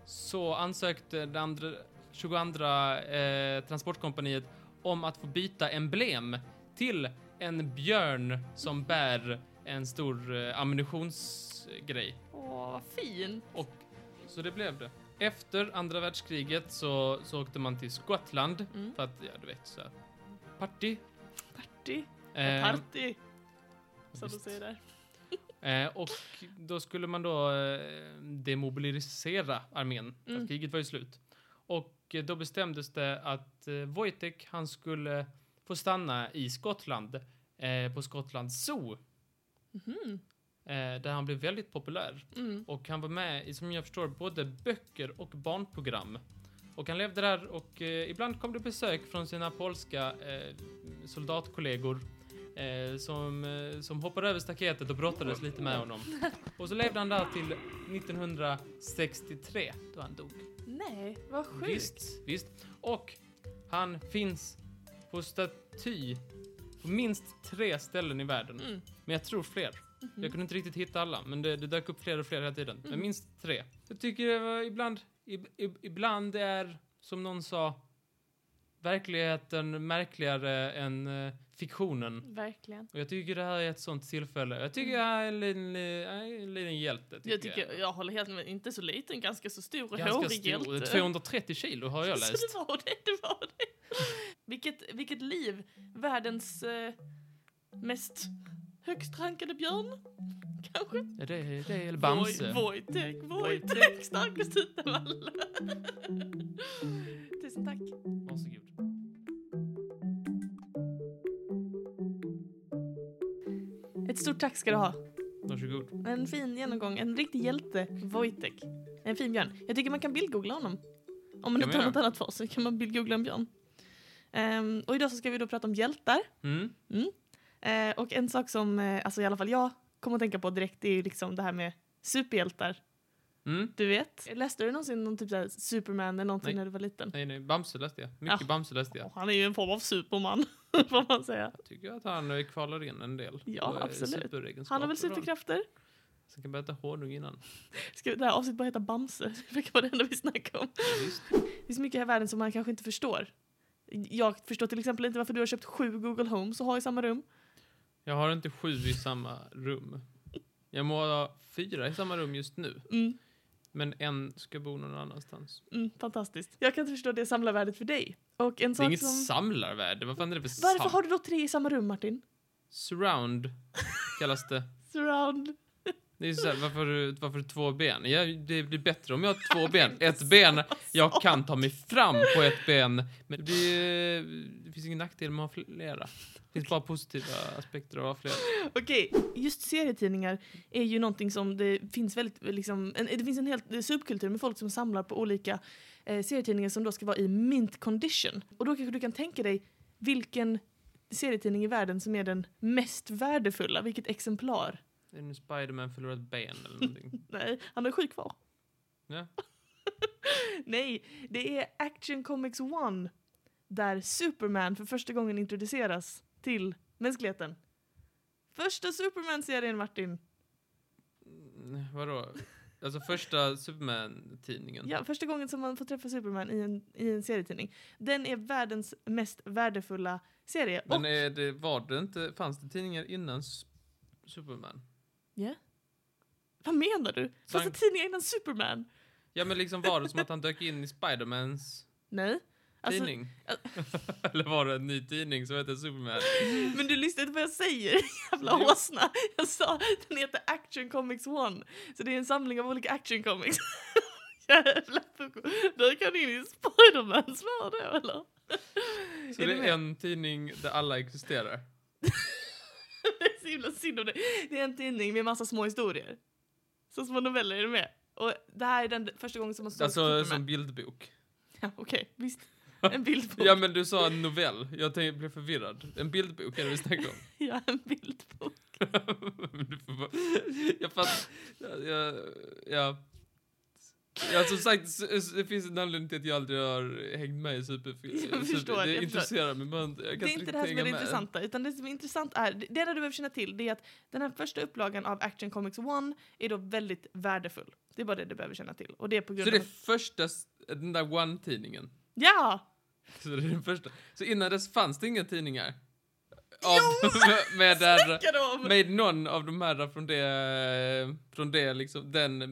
[SPEAKER 3] så ansökte det andra, 22 eh, transportkompaniet om att få byta emblem till en björn som bär en stor eh, ammunitionsgrej.
[SPEAKER 2] Åh, vad fin.
[SPEAKER 3] Och så det blev det. Efter andra världskriget så, så åkte man till Skottland
[SPEAKER 2] Mm.
[SPEAKER 3] för att, ja du vet så här, party.
[SPEAKER 2] Party.
[SPEAKER 3] Eh,
[SPEAKER 2] Party, som de
[SPEAKER 3] visst.
[SPEAKER 2] säger där.
[SPEAKER 3] Eh, och då skulle man då eh, demobilisera armén. för
[SPEAKER 2] Mm.
[SPEAKER 3] Att kriget var ju slut. Och eh, då bestämdes det att eh, Wojtek, han skulle få stanna i Skottland. Eh, på Skottlands zoo.
[SPEAKER 2] Mhm.
[SPEAKER 3] Eh, där han blev väldigt populär.
[SPEAKER 2] Mm.
[SPEAKER 3] Och han var med i, som jag förstår, både böcker och barnprogram. Och han levde där och eh, ibland kom det besök från sina polska eh, soldatkollegor eh, som, eh, som hoppade över staketet och brottades lite med honom. Och så levde han där till 1963 då han dog.
[SPEAKER 2] Nej, vad sjukt.
[SPEAKER 3] Visst, visst. Och han finns på staty på minst tre ställen i världen.
[SPEAKER 2] Mm. Mm-hmm.
[SPEAKER 3] Men jag tror fler. Jag kunde inte riktigt hitta alla, men det, det dök upp fler och fler hela tiden.
[SPEAKER 2] Mm.
[SPEAKER 3] Men minst tre. Jag tycker det var ibland, ib, ib, ibland är, som någon sa, verkligheten märkligare än eh, fiktionen.
[SPEAKER 2] Verkligen.
[SPEAKER 3] Och jag tycker det här är ett sånt tillfälle. Jag tycker jag är en liten, eh, en liten hjälte.
[SPEAKER 2] Jag tycker, jag håller helt med, inte så liten, ganska så stor och
[SPEAKER 3] Ganska
[SPEAKER 2] hårig
[SPEAKER 3] stor. 230 kilo har jag
[SPEAKER 2] Så
[SPEAKER 3] läst.
[SPEAKER 2] det var det, det var det. Vilket, vilket liv. Världens eh, mest högst rankade björn, kanske.
[SPEAKER 3] Är det, är det eller Bamse?
[SPEAKER 2] Voj- Wojtek, Wojtek, starkast utav alla. Tusen tack.
[SPEAKER 3] Varsågod.
[SPEAKER 2] Ett stort tack ska du ha.
[SPEAKER 3] Varsågod.
[SPEAKER 2] En fin genomgång, en riktig hjälte, Wojtek. En fin björn. Jag tycker man kan bildgoogla honom. Om man
[SPEAKER 3] Jag
[SPEAKER 2] inte har
[SPEAKER 3] menar.
[SPEAKER 2] något annat för sig kan man bildgoogla en björn. Ehm, och idag så ska vi då prata om hjältar.
[SPEAKER 3] Mm.
[SPEAKER 2] Eh, och en sak som eh, alltså i alla fall jag kom att tänka på direkt är ju liksom det här med superhjältar.
[SPEAKER 3] Mm.
[SPEAKER 2] Du vet, läste du någonsin någon typ så här Superman eller någonting
[SPEAKER 3] Nej.
[SPEAKER 2] när du var liten?
[SPEAKER 3] Nej, nej, Bamse läste jag. Mycket
[SPEAKER 2] Ah.
[SPEAKER 3] Bamse läste jag.
[SPEAKER 2] Åh, han är ju en form av Superman, får man säga.
[SPEAKER 3] Jag tycker att han eh, kvalar in en del.
[SPEAKER 2] Ja,
[SPEAKER 3] eh,
[SPEAKER 2] absolut.
[SPEAKER 3] superegenskaper
[SPEAKER 2] Han har väl
[SPEAKER 3] då.
[SPEAKER 2] superkrafter?
[SPEAKER 3] Sen kan man äta honung innan.
[SPEAKER 2] Ska det här avsnittet bara heta Bamse? Det verkar vara det enda vi snackar om.
[SPEAKER 3] Visst.
[SPEAKER 2] Det finns mycket i världen som man kanske inte förstår. Jag förstår till exempel inte varför du har köpt sju Google Homes och har i samma rum.
[SPEAKER 3] Jag har inte sju i samma rum. Jag må ha fyra i samma rum just nu.
[SPEAKER 2] Mm.
[SPEAKER 3] Men en ska bo någon annanstans.
[SPEAKER 2] Mm, fantastiskt. Jag kan inte förstå det samlarvärdet för dig. Och en
[SPEAKER 3] Det är
[SPEAKER 2] sak
[SPEAKER 3] inget
[SPEAKER 2] som...
[SPEAKER 3] samlarvärde. Vad fan är det för
[SPEAKER 2] Varför
[SPEAKER 3] sam-
[SPEAKER 2] har du då tre i samma rum, Martin?
[SPEAKER 3] Surround kallas det.
[SPEAKER 2] Surround.
[SPEAKER 3] Det är så här, varför, har du- varför har du två ben? Ja, det blir bättre om jag har två ben. Ett ben,
[SPEAKER 2] Alltså.
[SPEAKER 3] jag kan ta mig fram på ett ben. Men det, är- det finns ingen nackdel med att ha flera. Det finns bara positiva aspekter av att ha flera.
[SPEAKER 2] Okej. Just serietidningar är ju någonting som det finns väldigt, liksom, en, det finns en hel eh, subkultur med folk som samlar på olika eh, serietidningar som då ska vara i mint condition. Och då kanske du kan tänka dig vilken serietidning i världen som är den mest värdefulla, vilket exemplar.
[SPEAKER 3] Är nu Spiderman förlorar ett ben eller någonting?
[SPEAKER 2] Nej, han har sju kvar.
[SPEAKER 3] Ja.
[SPEAKER 2] Nej, det är Action Comics 1 där Superman för första gången introduceras till mänskligheten. Första Superman-serien, Martin.
[SPEAKER 3] Mm, Vadå? Alltså första Superman-tidningen?
[SPEAKER 2] Ja, första gången som man får träffa Superman i en, i en serietidning. Den är världens mest värdefulla serie.
[SPEAKER 3] Men
[SPEAKER 2] och,
[SPEAKER 3] är det, var det inte, fanns det tidningar innan S- Superman?
[SPEAKER 2] Ja? Vad menar du? Fanns det
[SPEAKER 3] Sank-
[SPEAKER 2] tidningar innan Superman?
[SPEAKER 3] Ja men liksom var det som att han dök in i Spidermans
[SPEAKER 2] Nej. Alltså,
[SPEAKER 3] tidning? eller var det en ny tidning som hette Superman?
[SPEAKER 2] Men du lyssnar inte på vad jag säger, jävla
[SPEAKER 3] Jo.
[SPEAKER 2] åsna. Jag sa den heter Action Comics 1. Så det är en samling av olika action comics. jävla pucko. Där kan in i Spidermans värld då eller?
[SPEAKER 3] Så det
[SPEAKER 2] Är du
[SPEAKER 3] är
[SPEAKER 2] med?
[SPEAKER 3] en tidning där alla existerar?
[SPEAKER 2] Det är så himla synd om det. Det är en tidning med massa små historier. Så små noveller, är du med? Och det här är den första gången som man såg
[SPEAKER 3] Alltså
[SPEAKER 2] Superman.
[SPEAKER 3] som bildbok?
[SPEAKER 2] Ja, Okej, visst. En bildbok.
[SPEAKER 3] Ja men du sa en novell, jag tänkte, blev förvirrad. En bildbok är det vi snackar om.
[SPEAKER 2] ja, en bildbok.
[SPEAKER 3] Men du får bara- jag fattar, ja, ja. Ja, som sagt, s- s- det finns en anledning till att jag aldrig har hängt med i superfilmer.
[SPEAKER 2] Jag förstår, jag
[SPEAKER 3] det
[SPEAKER 2] förstår.
[SPEAKER 3] intresserar mig, men jag kan
[SPEAKER 2] Det är inte
[SPEAKER 3] riktigt
[SPEAKER 2] det här som är
[SPEAKER 3] hänga
[SPEAKER 2] det
[SPEAKER 3] med.
[SPEAKER 2] intressanta, utan det som är intressant är, det enda du behöver känna till det är att den här första upplagan av Action Comics 1 är då väldigt värdefull. Det är bara det du behöver känna till. Och det är på grund
[SPEAKER 3] Så det är
[SPEAKER 2] av... att-
[SPEAKER 3] första, s- den där One-tidningen.
[SPEAKER 2] Ja!
[SPEAKER 3] Så det är den första. Så innan dess fanns det inga tidningar?
[SPEAKER 2] Jo!
[SPEAKER 3] med- med, där,
[SPEAKER 2] Snackar du om!
[SPEAKER 3] med någon av de här från det, från det liksom, den eh,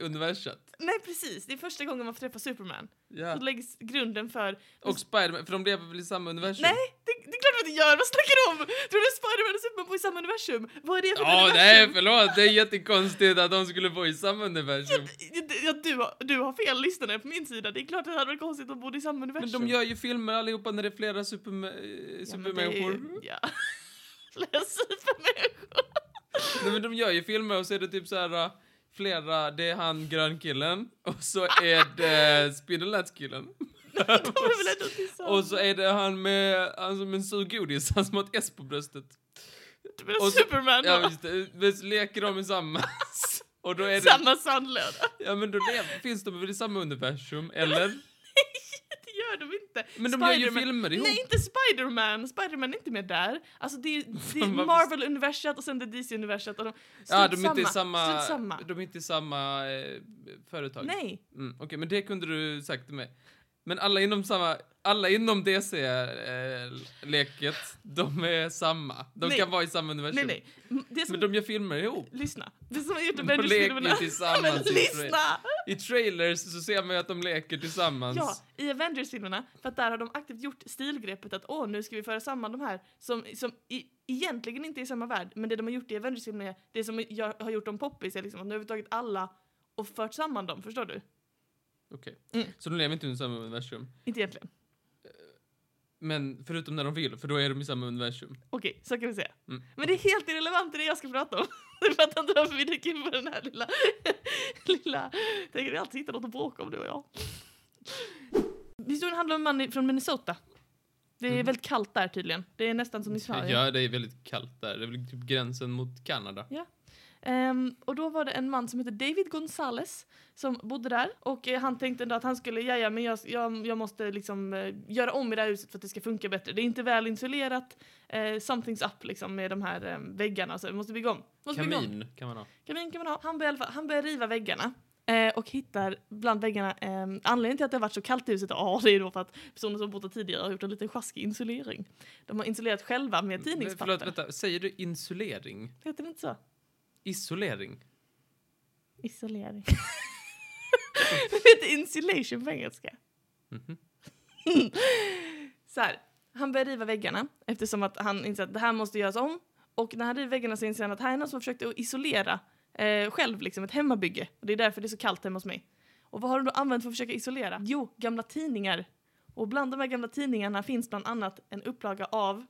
[SPEAKER 3] universet.
[SPEAKER 2] Nej precis, det är första gången man får träffa Superman.
[SPEAKER 3] Ja.
[SPEAKER 2] Då läggs grunden för...
[SPEAKER 3] Och Spiderman, för de lever väl i samma universum?
[SPEAKER 2] Nej, det, det är klart att det gör! Vad snackar du om? Tror du Spiderman och Superman bor i samma universum? Vad är det för
[SPEAKER 3] Ja, nej
[SPEAKER 2] universum?
[SPEAKER 3] förlåt, det är jättekonstigt att de skulle bo i samma universum.
[SPEAKER 2] Ja, du, har, du har fel, lyssnarna är på min sida. Det är klart att det hade varit konstigt om de bodde i samma
[SPEAKER 3] Men
[SPEAKER 2] universum.
[SPEAKER 3] de gör ju filmer allihopa när det är flera superma- eh,
[SPEAKER 2] Ja, men det är-
[SPEAKER 3] supermänniskor.
[SPEAKER 2] Ja. Flera supermänniskor.
[SPEAKER 3] Nej men de gör ju filmer och så är det typ så här eh, flera, det är han grönkillen och så är det spindelnätskillen.
[SPEAKER 2] De är väl ändå
[SPEAKER 3] Och
[SPEAKER 2] tillsammans?
[SPEAKER 3] så är det han med, han som en sur godis, han som har ett S på bröstet.
[SPEAKER 2] Du menar
[SPEAKER 3] och så-
[SPEAKER 2] Superman
[SPEAKER 3] Ja
[SPEAKER 2] då?
[SPEAKER 3] just det, men så leker de tillsammans. Och då är det,
[SPEAKER 2] Samma sandlåda?
[SPEAKER 3] ja men då lever, finns de väl i samma universum, eller?
[SPEAKER 2] Det gör de inte.
[SPEAKER 3] Men de gör ju
[SPEAKER 2] Spiderman-
[SPEAKER 3] filmer ihop.
[SPEAKER 2] Nej, inte Spiderman! Spiderman är inte med där. Alltså det är, det är
[SPEAKER 3] Varför-
[SPEAKER 2] Marvel-universum och sen det är DC-universum. Och de,
[SPEAKER 3] Ja,
[SPEAKER 2] strunt
[SPEAKER 3] de är inte i samma,
[SPEAKER 2] strunt samma.
[SPEAKER 3] De är inte i samma eh, företag.
[SPEAKER 2] Nej,
[SPEAKER 3] Mm, Okej, men det kunde du sagt till mig. Men alla inom samma, alla inom DC-leket, de är samma. De
[SPEAKER 2] Nej.
[SPEAKER 3] kan vara i samma universum.
[SPEAKER 2] nej, nej. M- Det som,
[SPEAKER 3] Men de gör filmer ihop.
[SPEAKER 2] Lyssna. Det som har gjort
[SPEAKER 3] De leker
[SPEAKER 2] Avengers-filmerna...
[SPEAKER 3] ju tillsammans.
[SPEAKER 2] Men
[SPEAKER 3] i, tra-
[SPEAKER 2] lyssna!
[SPEAKER 3] I trailers så ser man ju att de leker tillsammans.
[SPEAKER 2] Ja, i Avengers-filmerna, för att där har de aktivt gjort stilgreppet att åh, nu ska vi föra samman de här som, som i, egentligen inte är i samma värld, men det de har gjort i Avengers-filmerna, är- det som gör, har gjort dem poppis är liksom att nu har vi tagit alla och fört samman dem, förstår du?
[SPEAKER 3] Okej.
[SPEAKER 2] Mm.
[SPEAKER 3] Så de lever inte i samma universum.
[SPEAKER 2] Inte egentligen.
[SPEAKER 3] Men förutom när de vill, för då är de i samma universum.
[SPEAKER 2] Okej, så kan vi säga.
[SPEAKER 3] Mm.
[SPEAKER 2] Men det är helt irrelevant i det jag ska prata om. Du fattar inte varför vi gick in på den här lilla... lilla... Tänk att vi alltid hittar något att bråka om, du och jag. Historien handlar om en man i- från Minnesota. Det är
[SPEAKER 3] Mhm.
[SPEAKER 2] väldigt kallt där tydligen. Mm. Det är nästan som i Sverige.
[SPEAKER 3] Ja, det är väldigt kallt där. Det är väl typ gränsen mot Kanada.
[SPEAKER 2] Ehm, och då var det en man som hette David Gonzales som bodde där och eh, han tänkte ändå att han skulle, ja ja men jag, jag, jag måste liksom eh, göra om i det här huset för att det ska funka bättre. Det är inte väl insulerat, eh, something's up liksom med de här eh, väggarna så vi måste bygga om. Måste bygga om.
[SPEAKER 3] Kamin kan man ha.
[SPEAKER 2] Kamin kan man ha. Han börjar, i alla fall- han börjar riva väggarna. Eh, och hittar bland väggarna, eh, anledningen till att det har varit så kallt i huset, ja det är då för att personer som bott där tidigare har gjort en liten sjaskig insulering. De har insulerat
[SPEAKER 3] Men
[SPEAKER 2] själva med
[SPEAKER 3] Mm, Förlåt,
[SPEAKER 2] tidningspapper.
[SPEAKER 3] vänta. Säger du insulering?
[SPEAKER 2] Heter det inte så?
[SPEAKER 3] Isolering?
[SPEAKER 2] Isolering. Det heter insulation på engelska. Mhm. så här, han börjar riva väggarna eftersom att han inser att det här måste göras om. Och när han river väggarna så inser han att här är någon som har försökt att isolera eh, själv, liksom ett hemmabygge. Och det är därför det är så kallt hemma hos mig. Och vad har de då använt för att försöka isolera? Jo, gamla tidningar. Och bland de här gamla tidningarna finns bland annat en upplaga av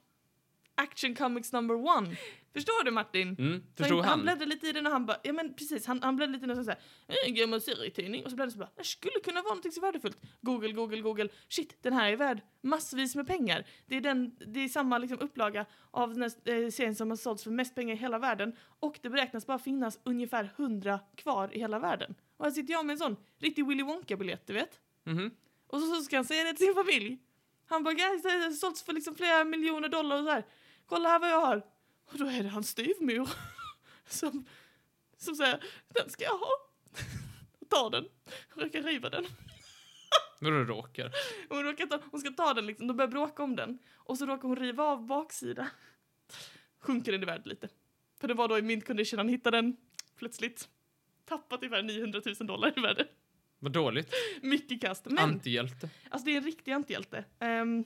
[SPEAKER 2] Action Comics number one. Förstår du Martin?
[SPEAKER 3] Mm,
[SPEAKER 2] Så
[SPEAKER 3] förstod
[SPEAKER 2] han
[SPEAKER 3] han?
[SPEAKER 2] bläddrade lite i den och han bara, ja men precis, han, han bläddrade lite i den och sen såhär, en gammal serietidning och så bläddrade han så bara, det skulle kunna vara någonting så värdefullt. Google, Google, Google, shit den här är värd massvis med pengar. Det är, den, det är samma liksom upplaga av den här eh, serien som har sålts för mest pengar i hela världen och det beräknas bara finnas ungefär 100 kvar i hela världen. Och här sitter jag med en sån riktig Willy Wonka-biljett, du vet.
[SPEAKER 3] Mhm.
[SPEAKER 2] Och så, så ska han säga det till sin familj. Han bara, guys, det har sålts för liksom flera miljoner dollar och så här. Kolla här vad jag har. Och då är det hans styvmor. Som, som säger, den ska jag ha. Ta den. Hon råkar riva den.
[SPEAKER 3] Vadå råkar?
[SPEAKER 2] Hon, råkar ta, hon ska ta den liksom, de börjar bråka om den. Och så råkar hon riva av baksidan. Sjunker den i värde lite. För det var då i mint condition han hittade den. Plötsligt. Tappat ungefär 900 000 dollar i värde.
[SPEAKER 3] Vad dåligt.
[SPEAKER 2] Mycket kast. Men
[SPEAKER 3] Antihjälte.
[SPEAKER 2] Alltså det är en riktig antihjälte. Ehm,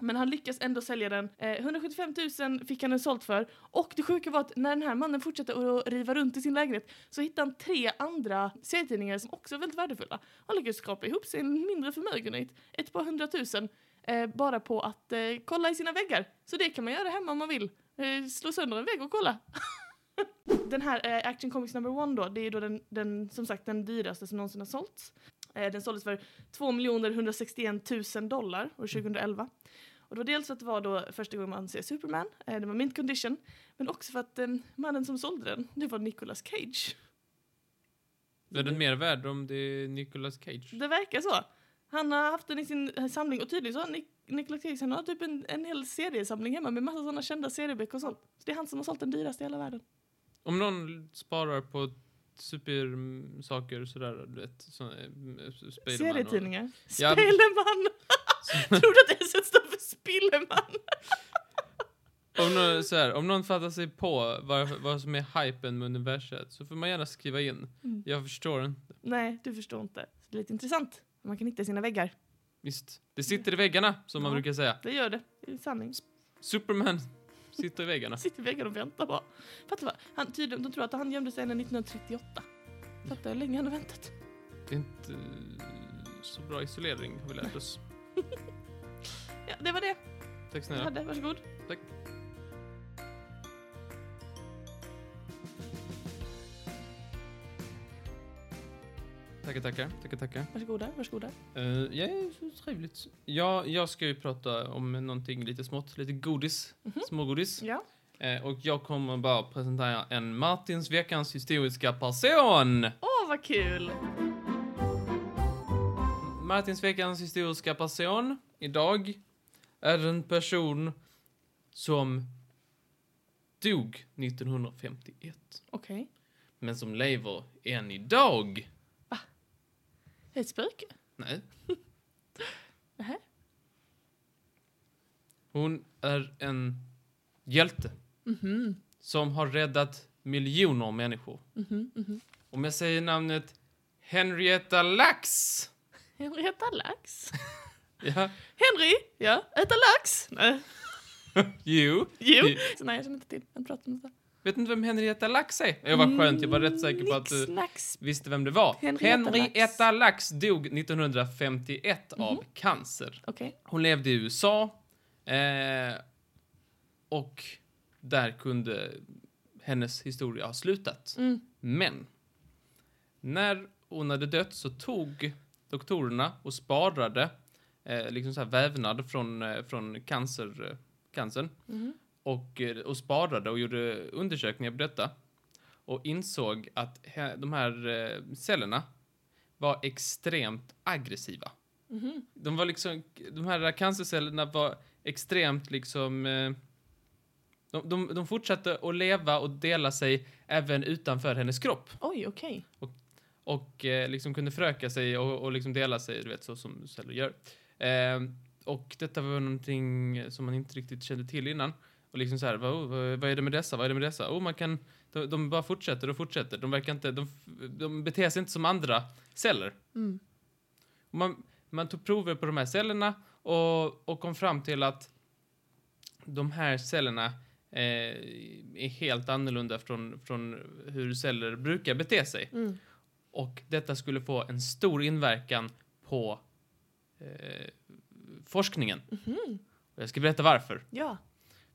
[SPEAKER 2] men han lyckas ändå sälja den. Eh, 175 000 fick han den sålt för. Och det sjuka var att när den här mannen fortsatte att riva runt i sin lägenhet så hittade han tre andra serietidningar som också är väldigt värdefulla. Han lyckades skrapa ihop sin mindre förmögenhet, ett par hundratusen, eh, bara på att eh, kolla i sina väggar. Så det kan man göra hemma om man vill. Eh, slå sönder en vägg och kolla. den här eh, Action Comics number one då, det är ju då den, den, som sagt den dyraste som någonsin har sålts. Eh, den såldes för 2 161 000 dollar år
[SPEAKER 3] Mm.
[SPEAKER 2] 2011. Och det var dels för att det var då första gången man ser Superman, eh, det var mint condition, men också för att eh, mannen som sålde den, det var Nicolas Cage.
[SPEAKER 3] Är den mer värd om det är Nicolas Cage?
[SPEAKER 2] Det verkar så. Han har haft den i sin eh, samling och tydligen så har Nic- Nicolas Cage han har typ en, en hel seriesamling hemma med massa sådana kända serieböcker och sånt. Så det är han som har sålt den dyraste i hela världen.
[SPEAKER 3] Om någon sparar på supersaker sådär, du vet, så, eh, Spiderman och-
[SPEAKER 2] Serietidningar.
[SPEAKER 3] Ja.
[SPEAKER 2] Spelman! Tror du att det står för Spilleman?
[SPEAKER 3] Om någon, så här, om någon fattar sig på vad, vad som är hypen med universet så får man gärna skriva in.
[SPEAKER 2] Mm.
[SPEAKER 3] Jag förstår inte.
[SPEAKER 2] Nej, du förstår inte. Så det är lite intressant. Man kan hitta sina väggar.
[SPEAKER 3] Visst, det sitter i väggarna som man
[SPEAKER 2] Ja.
[SPEAKER 3] brukar säga.
[SPEAKER 2] Det gör det. Det är sanning.
[SPEAKER 3] Superman sitter i väggarna.
[SPEAKER 2] Sitter i väggen och väntar bara. Fattar vad? Han, tydligen, de tror att han gömde sig ända 1938. Fattar hur länge han har väntat.
[SPEAKER 3] Det är inte eh, så bra isolering har vi lärt oss.
[SPEAKER 2] Ja, det var det
[SPEAKER 3] Tack
[SPEAKER 2] jag
[SPEAKER 3] snälla.
[SPEAKER 2] hade. Varsågod.
[SPEAKER 3] Tack. Tackar, tackar. Tackar, tackar.
[SPEAKER 2] Varsågoda, varsågoda.
[SPEAKER 3] Eh, ja, så trevligt. Ja, jag ska ju prata om någonting lite smått, lite godis, smågodis.
[SPEAKER 2] Ja.
[SPEAKER 3] Eh, och jag kommer bara presentera en Martins veckans historiska person.
[SPEAKER 2] Åh, vad kul!
[SPEAKER 3] Martins veckans historiska person idag är en person som dog 1951
[SPEAKER 2] Okej.
[SPEAKER 3] men som lever än idag.
[SPEAKER 2] Ett spöke?
[SPEAKER 3] Nej.
[SPEAKER 2] Nähä.
[SPEAKER 3] Hon är en hjälte
[SPEAKER 2] Mhm,
[SPEAKER 3] som har räddat miljoner människor.
[SPEAKER 2] mhm, mhm.
[SPEAKER 3] Om jag säger namnet Henrietta Lacks.
[SPEAKER 2] Henry äta lax?
[SPEAKER 3] Ja,
[SPEAKER 2] Henry! Ja, äta lax! Nej.
[SPEAKER 3] jo.
[SPEAKER 2] Jo.
[SPEAKER 3] Jo.
[SPEAKER 2] Så nej, jag känner inte till. Jag pratar inte.
[SPEAKER 3] Vet inte vem Henrietta Lacks är? Jag var skönt, jag var rätt säker på att du
[SPEAKER 2] Lax.
[SPEAKER 3] visste vem det var.
[SPEAKER 2] Mm, Henrietta
[SPEAKER 3] Henrietta Lacks dog 1951
[SPEAKER 2] Mhm.
[SPEAKER 3] av cancer.
[SPEAKER 2] Okej.
[SPEAKER 3] Hon levde i USA eh, och där kunde hennes historia ha slutat.
[SPEAKER 2] Mm.
[SPEAKER 3] Men när hon hade dött så tog doktorerna och sparade eh, liksom så här vävnad från, eh, från cancer, eh, cancern
[SPEAKER 2] Mhm.
[SPEAKER 3] och, eh, och sparade och gjorde undersökningar på detta och insåg att he- de här eh, cellerna var extremt aggressiva.
[SPEAKER 2] Mhm.
[SPEAKER 3] De var liksom, de här cancercellerna var extremt liksom, eh, de, de, de fortsatte att leva och dela sig även utanför hennes kropp
[SPEAKER 2] Oj, okej.
[SPEAKER 3] och eh, liksom kunde föröka sig och, och liksom dela sig, du vet, så som Ehm, celler gör. Eh, och detta var någonting som man inte riktigt kände till innan. Och liksom så här, vad, vad, vad är det med dessa? Vad är det med dessa? Oh, man kan, de, de bara fortsätter och fortsätter. De verkar inte, de, de beter sig inte som andra celler.
[SPEAKER 2] Mm.
[SPEAKER 3] Man, man tog prover på de här cellerna och, och kom fram till att de här cellerna eh, är helt annorlunda från, från hur celler brukar bete sig.
[SPEAKER 2] Mm.
[SPEAKER 3] Och detta skulle få en stor inverkan på eh, forskningen.
[SPEAKER 2] Mhm.
[SPEAKER 3] Och jag ska berätta varför.
[SPEAKER 2] Ja.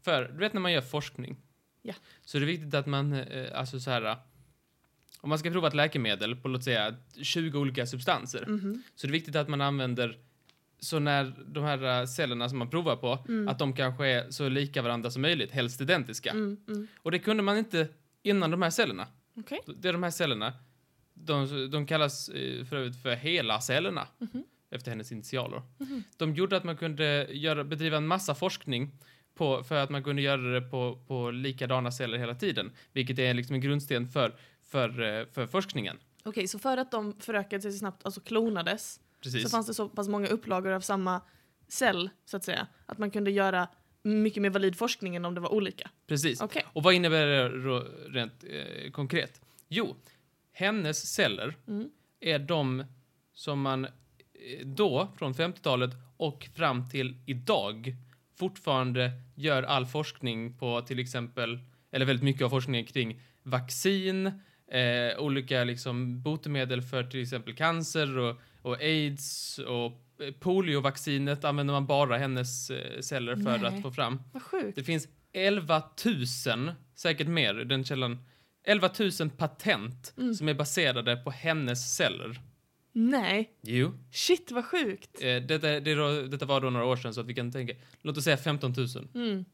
[SPEAKER 3] För du vet när man gör forskning.
[SPEAKER 2] Ja.
[SPEAKER 3] Så är det viktigt att man, eh, alltså så här. Om man ska prova ett läkemedel på låt säga 20 olika substanser.
[SPEAKER 2] Mhm.
[SPEAKER 3] Så det är viktigt att man använder så när de här eh, cellerna som man provar på,
[SPEAKER 2] Mm.
[SPEAKER 3] att de kanske är så lika varandra som möjligt, helst identiska.
[SPEAKER 2] Mm. Mm.
[SPEAKER 3] Och det kunde man inte innan de här cellerna.
[SPEAKER 2] Okej.
[SPEAKER 3] Det är de här cellerna. De, de kallas eh, för övrigt för hela cellerna.
[SPEAKER 2] Mhm.
[SPEAKER 3] Efter hennes initialer. De gjorde att man kunde göra, bedriva en massa forskning på, för att man kunde göra det på, på likadana celler hela tiden. Vilket är liksom en grundsten för, för, eh, för forskningen.
[SPEAKER 2] Okej, så för att de förökade sig så snabbt, alltså klonades,
[SPEAKER 3] Precis.
[SPEAKER 2] så fanns det så pass många upplagor av samma cell, så att säga, att man kunde göra mycket mer valid forskning än om det var olika.
[SPEAKER 3] Precis.
[SPEAKER 2] Okej.
[SPEAKER 3] Och vad innebär det då rent eh, konkret? Jo, hennes celler
[SPEAKER 2] Mm.
[SPEAKER 3] är de som man eh, då, från 50-talet och fram till idag fortfarande gör all forskning på till exempel, eller väldigt mycket av forskningen kring vaccin, eh, olika liksom botemedel för till exempel cancer och, och aids och eh, poliovaccinet använder man bara hennes eh, celler för
[SPEAKER 2] Nej.
[SPEAKER 3] att få fram.
[SPEAKER 2] Vad sjukt.
[SPEAKER 3] Det finns 11 000, säkert mer, i den källan. 11 000 patent
[SPEAKER 2] Mm.
[SPEAKER 3] som är baserade på hennes celler.
[SPEAKER 2] Nej.
[SPEAKER 3] Jo.
[SPEAKER 2] Shit, vad sjukt.
[SPEAKER 3] Eh, detta, det, är då- detta var då några år sedan så att vi kan tänka, låt oss säga 15 000.
[SPEAKER 2] Mm.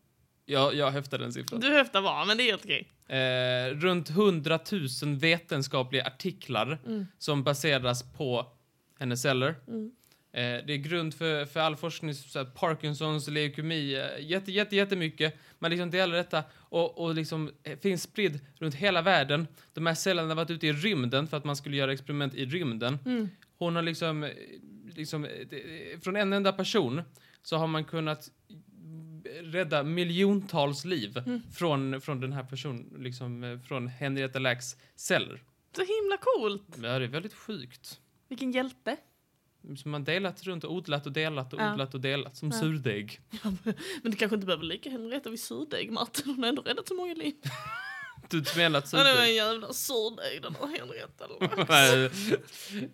[SPEAKER 3] Jag, jag höftar den siffran.
[SPEAKER 2] Du höftar var, men det är helt okej.
[SPEAKER 3] Eh, runt 100 000 vetenskapliga artiklar
[SPEAKER 2] Mm.
[SPEAKER 3] som baseras på hennes celler.
[SPEAKER 2] Mm.
[SPEAKER 3] Eh, det är grund för, för all forskning, så här, Parkinsons, leukemi, eh, jätte, jätte, jättemycket. Man liksom delar detta och, och liksom eh, finns spridd runt hela världen. De här cellerna har varit ute i rymden för att man skulle göra experiment i rymden.
[SPEAKER 2] Mm.
[SPEAKER 3] Hon har liksom, eh, liksom eh, det- från en enda person så har man kunnat rädda miljontals liv
[SPEAKER 2] Mm.
[SPEAKER 3] från, från den här personen, liksom eh, från Henrietta Lacks celler.
[SPEAKER 2] Så himla coolt.
[SPEAKER 3] Det här är väldigt sjukt.
[SPEAKER 2] Vilken hjälte.
[SPEAKER 3] Som man delat runt och odlat och delat och
[SPEAKER 2] Ja.
[SPEAKER 3] odlat och delat. Som
[SPEAKER 2] Ja.
[SPEAKER 3] surdeg.
[SPEAKER 2] Men du kanske inte behöver lika Henrietta vid surdegmaten, hon har ändå räddat så många liv.
[SPEAKER 3] Du smälat
[SPEAKER 2] Ja, det var en
[SPEAKER 3] surdeg.
[SPEAKER 2] jävla surdeg den där Henrietta.
[SPEAKER 3] Nej.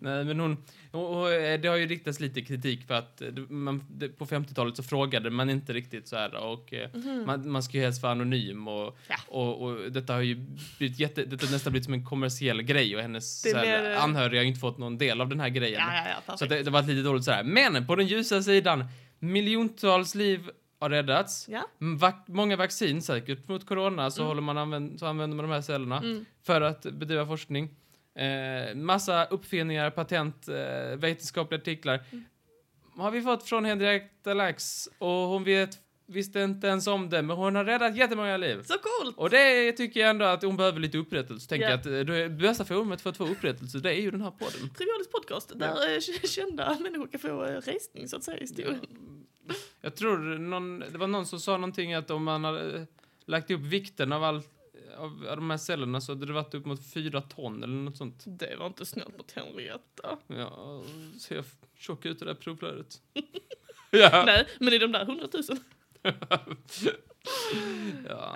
[SPEAKER 3] Nej, men hon... Och, och, eh, det har ju riktats lite kritik för att eh, det- man, det, på 50-talet så frågade man inte riktigt så här och eh,
[SPEAKER 2] Mm.
[SPEAKER 3] man, man ska ju helst vara anonym och,
[SPEAKER 2] Ja.
[SPEAKER 3] och, och detta har ju blivit jätte, detta har nästan blivit som en kommersiell grej och hennes
[SPEAKER 2] Det
[SPEAKER 3] så här,
[SPEAKER 2] blir-
[SPEAKER 3] anhöriga har ju inte fått någon del av den här grejen.
[SPEAKER 2] Ja, ja, ja,
[SPEAKER 3] Så
[SPEAKER 2] perfekt.
[SPEAKER 3] att det, det var lite dåligt sådär. Men på den ljusa sidan, miljontals liv har räddats.
[SPEAKER 2] Ja.
[SPEAKER 3] M- Mm, Vac många vaccin säkert mot corona så,
[SPEAKER 2] Mm.
[SPEAKER 3] håller man använd så använder man de här cellerna
[SPEAKER 2] Mm.
[SPEAKER 3] för att bedriva forskning. Eh, massa uppfinningar, patent, eh, vetenskapliga artiklar
[SPEAKER 2] Mm.
[SPEAKER 3] har vi fått från Henrietta Lacks och hon vet, visste inte ens om det men hon har räddat jättemånga liv.
[SPEAKER 2] Så coolt!
[SPEAKER 3] Och det tycker jag ändå att hon behöver lite upprättelse. Tänker
[SPEAKER 2] Ja.
[SPEAKER 3] jag att eh, det bästa forumet för att få upprättelse det är ju den här podden.
[SPEAKER 2] Trivialisk podcast där eh, k- kända människor kan få eh, resning så att säga i historien.
[SPEAKER 3] Jag tror någon, det var någon som sa någonting att om man hade eh, lagt upp vikten av, all, av, av de här cellerna så hade det varit upp mot fyra ton eller något sånt.
[SPEAKER 2] Det var inte snällt mot Henrietta.
[SPEAKER 3] Ja, ser jag f- tjock ut i det här provflödet. ja.
[SPEAKER 2] Nej, men i de där hundratusen.
[SPEAKER 3] ja.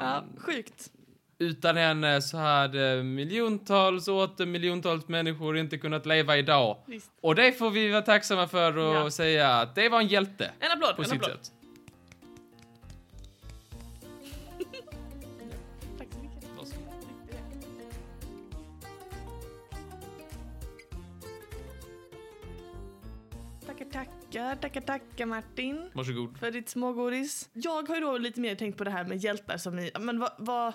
[SPEAKER 2] Ja, sjukt.
[SPEAKER 3] Utan henne så hade miljontals och åter miljontals människor inte kunnat leva idag.
[SPEAKER 2] Visst.
[SPEAKER 3] Och det får vi vara tacksamma för och
[SPEAKER 2] Ja.
[SPEAKER 3] säga att det var en hjälte.
[SPEAKER 2] En applåd,
[SPEAKER 3] På
[SPEAKER 2] en
[SPEAKER 3] sitt
[SPEAKER 2] applåd.
[SPEAKER 3] sätt.
[SPEAKER 2] Tack så mycket. Tackar, tackar, tackar, tackar Martin.
[SPEAKER 3] Varsågod.
[SPEAKER 2] För ditt smågodis. Jag har ju då lite mer tänkt på det här med hjältar som i, ja, men vad, vad,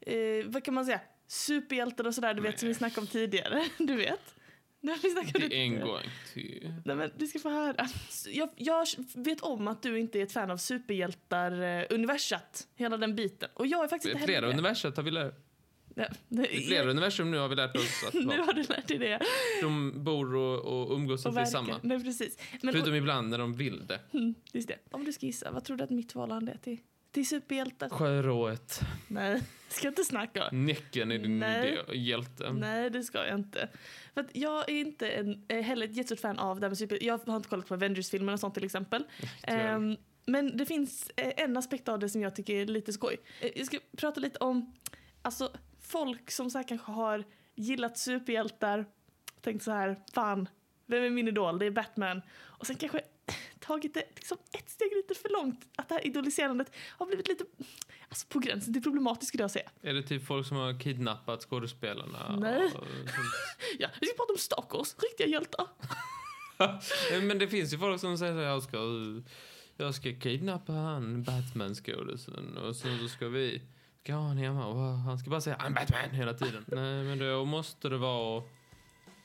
[SPEAKER 2] eh, vad kan man säga? Superhjältar och sådär, du vet som vi
[SPEAKER 3] Nej.
[SPEAKER 2] snackade om tidigare. Du vet? Det har vi snackat om
[SPEAKER 3] Det är en
[SPEAKER 2] tidigare.
[SPEAKER 3] gång till.
[SPEAKER 2] Nej men du ska få höra. Jag, jag vet om att du inte är ett fan av superhjältar-universat. Hela den biten. Och jag är faktiskt
[SPEAKER 3] Det är
[SPEAKER 2] inte heller
[SPEAKER 3] flera universum har vi lärt
[SPEAKER 2] Nej, det
[SPEAKER 3] I
[SPEAKER 2] är-
[SPEAKER 3] flera universum nu har vi lärt oss att
[SPEAKER 2] Nu
[SPEAKER 3] va,
[SPEAKER 2] har du lärt dig det.
[SPEAKER 3] de bor och, och umgås
[SPEAKER 2] Och
[SPEAKER 3] inte i
[SPEAKER 2] verkar.
[SPEAKER 3] samma.
[SPEAKER 2] Nej precis. Men,
[SPEAKER 3] Förutom ibland när de vill det.
[SPEAKER 2] Mm, just det. Om du ska gissa, vad tror du att mitt förhållande är till Till superhjältar.
[SPEAKER 3] Sjörået.
[SPEAKER 2] Nej, ska inte snacka.
[SPEAKER 3] Näcken är din
[SPEAKER 2] Nej.
[SPEAKER 3] idé, hjälte.
[SPEAKER 2] Nej, det ska jag inte. För att jag är inte en, eh, heller ett jättestort fan av det här med super... Jag har inte kollat på Avengers-filmerna och sånt till exempel.
[SPEAKER 3] tyvärr.
[SPEAKER 2] Ehm, men det finns eh, en aspekt av det som jag tycker är lite skoj. Eh, jag ska prata lite om alltså, folk som så här kanske har gillat superhjältar. Tänkt så här, fan, vem är min idol? Det är Batman. Och sen kanske tagit det liksom ett steg lite för långt. Att det här idoliserandet har blivit lite alltså, på gränsen till problematiskt skulle jag säga.
[SPEAKER 3] Är det typ folk som har kidnappat skådespelarna?
[SPEAKER 2] Nej.
[SPEAKER 3] Och, sånt?
[SPEAKER 2] Ja, vi ska prata om Stalkers, riktiga hjältar.
[SPEAKER 3] Nej, Eh, Men det finns ju folk som säger att jag ska, jag ska kidnappa han Batman-skådisen och sen så ska vi ska ha han hemma och han ska bara säga I'm Batman hela tiden. Nej men då måste det vara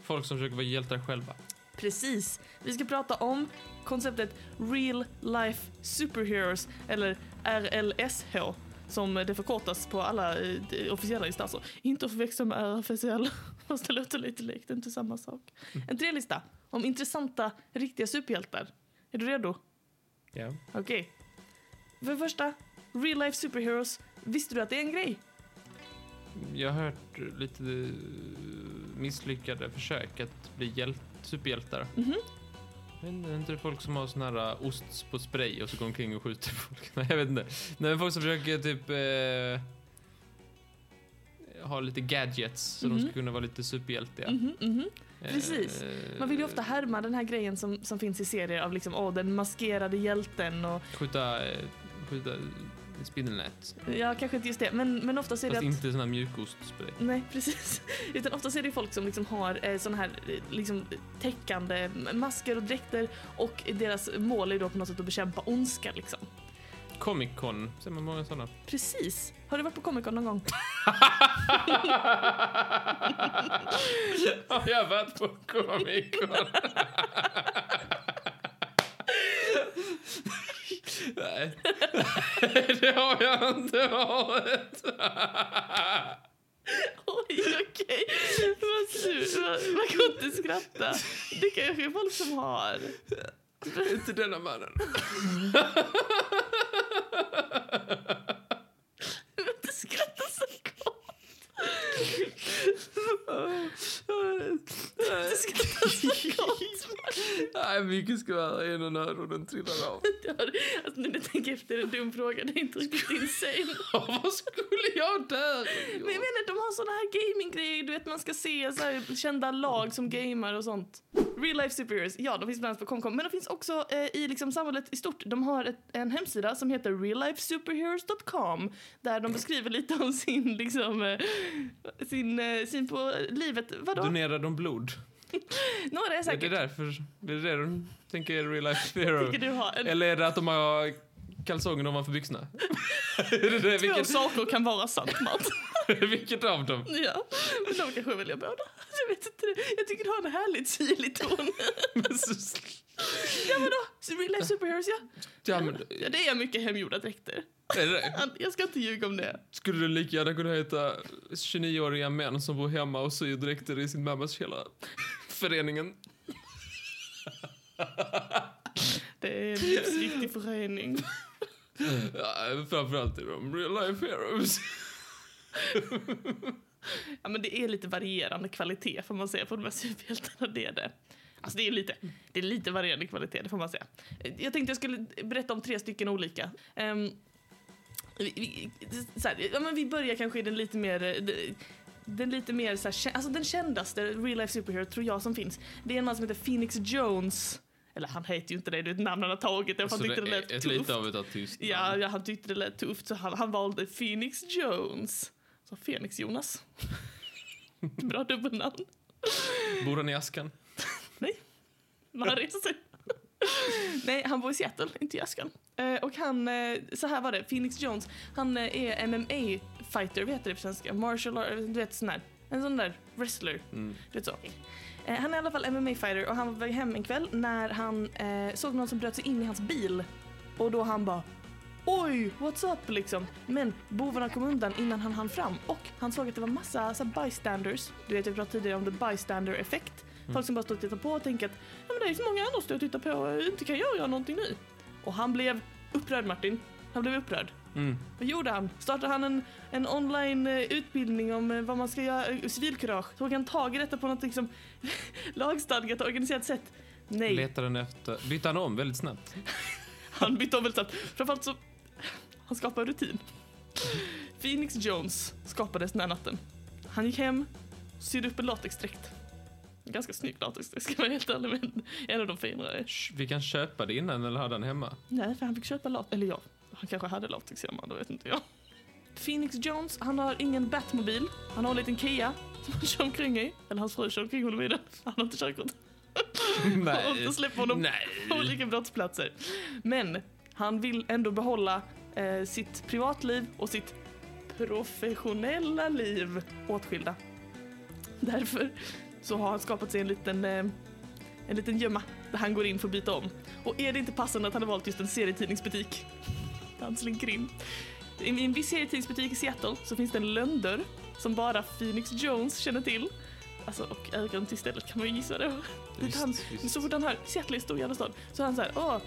[SPEAKER 3] folk som försöker vara hjältar själva.
[SPEAKER 2] Precis. Vi ska prata om konceptet Real Life Superheroes, eller RLSH, som det förkortas på alla eh, de- officiella instanser. Inte att förväxla med RFSL, fast det låter lite likt, det är inte samma sak. En tre lista om intressanta, riktiga superhjältar. Är du redo?
[SPEAKER 3] Ja.
[SPEAKER 2] Okej. För det första, Real Life Superheroes. Visste du att det är en grej?
[SPEAKER 3] Jag har hört lite eh, misslyckade försök att bli hjält, superhjältar.
[SPEAKER 2] Mhm.
[SPEAKER 3] Men är inte det folk som har sån här ost på spray och så går omkring och skjuter folk? Nej, jag vet inte. Nej, men folk som försöker typ eh, ha lite gadgets så de
[SPEAKER 2] Mhm.
[SPEAKER 3] ska kunna vara lite superhjältiga.
[SPEAKER 2] Mhm, mhm.
[SPEAKER 3] Eh,
[SPEAKER 2] precis. Man vill ju ofta härma den här grejen som, som finns i serier av liksom, åh, den maskerade hjälten och
[SPEAKER 3] Skjuta, eh, skjuta spindelnät.
[SPEAKER 2] Ja, kanske inte just det. Men, men ofta är det
[SPEAKER 3] Fast
[SPEAKER 2] att...
[SPEAKER 3] inte sån här mjukostspray.
[SPEAKER 2] Nej, precis. Utan ofta är det folk som liksom har eh, såna här eh, liksom, täckande masker och dräkter och deras mål är då på något sätt att bekämpa ondska liksom.
[SPEAKER 3] Comic Con, ser man många såna.
[SPEAKER 2] Precis. Har du varit på Comic Con någon gång?
[SPEAKER 3] Ja, jag har varit på Comic Con. Nej, det har jag inte varit.
[SPEAKER 2] Oj, okej. Vad sur. Man- Man kan inte skratta. Det kanske är folk som har.
[SPEAKER 3] inte denna mannen.
[SPEAKER 2] Du behöver inte skratta så gott. Du behöver inte skratta så gott.
[SPEAKER 3] Nej, mycket skvaller i ena öronen trillar av.
[SPEAKER 2] Det har, alltså, nu när jag tänker efter är det en dum fråga, det är inte riktigt insane.
[SPEAKER 3] Vad skulle jag där?
[SPEAKER 2] Men jag menar, de har såna här gaminggrejer, du vet man ska se så här, kända lag som gamer och sånt. Real Life Superheroes, ja de finns bland annat på Comcom, men de finns också eh, i liksom samhället i stort. De har ett, en hemsida som heter reallifesuperheroes.com där de beskriver lite om sin, liksom, eh, sin eh, syn på livet. Vadå?
[SPEAKER 3] Donerar de blod?
[SPEAKER 2] Några är
[SPEAKER 3] Är det
[SPEAKER 2] säkert,
[SPEAKER 3] därför? Är det det de tänker är real life hero?
[SPEAKER 2] tycker du har. En,
[SPEAKER 3] Eller är det att de har kalsonger ovanför byxorna? är det det?
[SPEAKER 2] två
[SPEAKER 3] Vilket,
[SPEAKER 2] saker kan vara sant, Mats.
[SPEAKER 3] vilket av dem?
[SPEAKER 2] Ja, men de kanske väljer båda. Jag vet inte. Jag tycker det har en härligt syrlig ton. ja, vadå? Så Real life superheroes, ja.
[SPEAKER 3] Ja, men,
[SPEAKER 2] ja. Det är mycket hemgjorda dräkter.
[SPEAKER 3] är det,
[SPEAKER 2] Jag ska inte ljuga om det.
[SPEAKER 3] skulle det lika gärna kunna heta 29-åriga män som bor hemma och syr dräkter i sin mammas källare? Föreningen.
[SPEAKER 2] Det är en livsviktig förening. Mm.
[SPEAKER 3] Ja, framförallt är de real life heroes.
[SPEAKER 2] Ja, men det är lite varierande kvalitet får man säga på de här superhjältarna. Det är det. Alltså det är lite, det är lite varierande kvalitet, det får man säga. Eh, Jag tänkte jag skulle berätta om tre stycken olika. Ehm, vi, vi, så här, ja, men vi börjar kanske i den lite mer... eh, de- Den lite mer så här, kä- alltså den kändaste real life superhero tror jag som finns. Det är en man som heter Phoenix Jones. Eller han heter ju inte det, det är ett namn han har tagit. Jag
[SPEAKER 3] Så
[SPEAKER 2] tyckte det
[SPEAKER 3] Alltså, det
[SPEAKER 2] lät
[SPEAKER 3] är
[SPEAKER 2] tufft.
[SPEAKER 3] ett lite av ett artist.
[SPEAKER 2] Ja, ja, han tyckte det lät tufft så han, han valde Phoenix Jones. Så Phoenix Jonas. Bra dubbelnamn.
[SPEAKER 3] Bor han i askan?
[SPEAKER 2] Man har rest sig. Nej, han bor i Seattle, inte i Askan. Eh, och han, eh, så här var det, Phoenix Jones, han eh, är MMA-fighter, vad heter det på svenska? Martial art, eh, du vet sån där, en sån där wrestler.
[SPEAKER 3] Mm.
[SPEAKER 2] Du vet så. Eh, han är i alla fall MMA-fighter och han var hem en kväll när han eh, såg någon som bröt sig in i hans bil. Och då han bara Oj, what's up liksom? Men bovarna kom undan innan han hann fram och han såg att det var massa så här, bystanders. Du vet, jag pratade tidigare om the bystander effekt. Folk som bara står och tittar på och tänker att ja, men det är ju så många andra som står och tittar på och inte kan jag göra någonting nu. Och han blev upprörd Martin. Han blev upprörd.
[SPEAKER 3] Mm.
[SPEAKER 2] Vad gjorde han? Startade han en, en online-utbildning om eh, vad man ska göra, eh, civilkurage? Tog han tag i detta på något liksom lagstadgat och organiserat sätt? Nej,
[SPEAKER 3] Letar den efter... Byter han om väldigt snabbt?
[SPEAKER 2] han bytte om väldigt snabbt. Framförallt så... Han skapade rutin. Phoenix Jones skapades den här natten. Han gick hem, sydde upp en latexdräkt. En Ganska snygg latexdräkt ska man helt ärlig med. En av de finare.
[SPEAKER 3] Sh, Vi kan köpa det innan eller hade han hemma?
[SPEAKER 2] Nej, för han fick köpa latex. Eller ja, han kanske hade latex hemma, det vet inte jag. Phoenix Jones, han har ingen Batmobil. Han har en liten Kia som han kör omkring i. Eller hans fru kör omkring honom i den. Han har inte körkort. Och
[SPEAKER 3] Nej.
[SPEAKER 2] så släpper honom
[SPEAKER 3] Nej.
[SPEAKER 2] på olika brottsplatser. Men han vill ändå behålla eh, sitt privatliv och sitt professionella liv åtskilda. Därför så har han skapat sig en liten, eh, en liten gömma där han går in för att byta om. Och är det inte passande att han har valt just en serietidningsbutik? Han slinker in. I en viss serietidningsbutik i Seattle så finns det en lönndörr som bara Phoenix Jones känner till. Alltså, och ögon till stället kan man ju gissa det. Dit han
[SPEAKER 3] Visst,
[SPEAKER 2] men
[SPEAKER 3] visst.
[SPEAKER 2] så fort han hör Seattle är en stor jävla stad så är han så här, åh,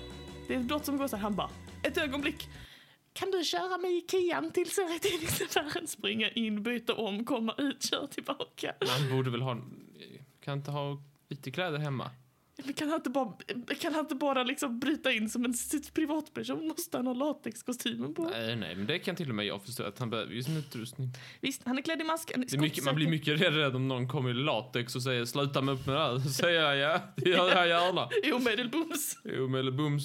[SPEAKER 2] det är ett brott som går så här. Han bara, ett ögonblick. Kan du köra mig i Kian till serietidningsaffären? Springa in, byta om, komma ut, köra tillbaka.
[SPEAKER 3] Men Han borde väl ha... Kan inte ha ytterkläder hemma?
[SPEAKER 2] Men kan han inte bara, kan han inte bara liksom bryta in som en sitt privatperson? Måste han ha latexkostymen på?
[SPEAKER 3] Nej, nej, men det kan till och med jag förstå att han behöver ju sin utrustning.
[SPEAKER 2] Visst, han är klädd i mask. en
[SPEAKER 3] Det är mycket, man blir
[SPEAKER 2] skottsäker-
[SPEAKER 3] mycket rädd om någon kommer i latex och säger sluta med upp med det här. Så säger jag ja, det gör jag gärna.
[SPEAKER 2] i omedelbums.
[SPEAKER 3] Jo, men eller bums,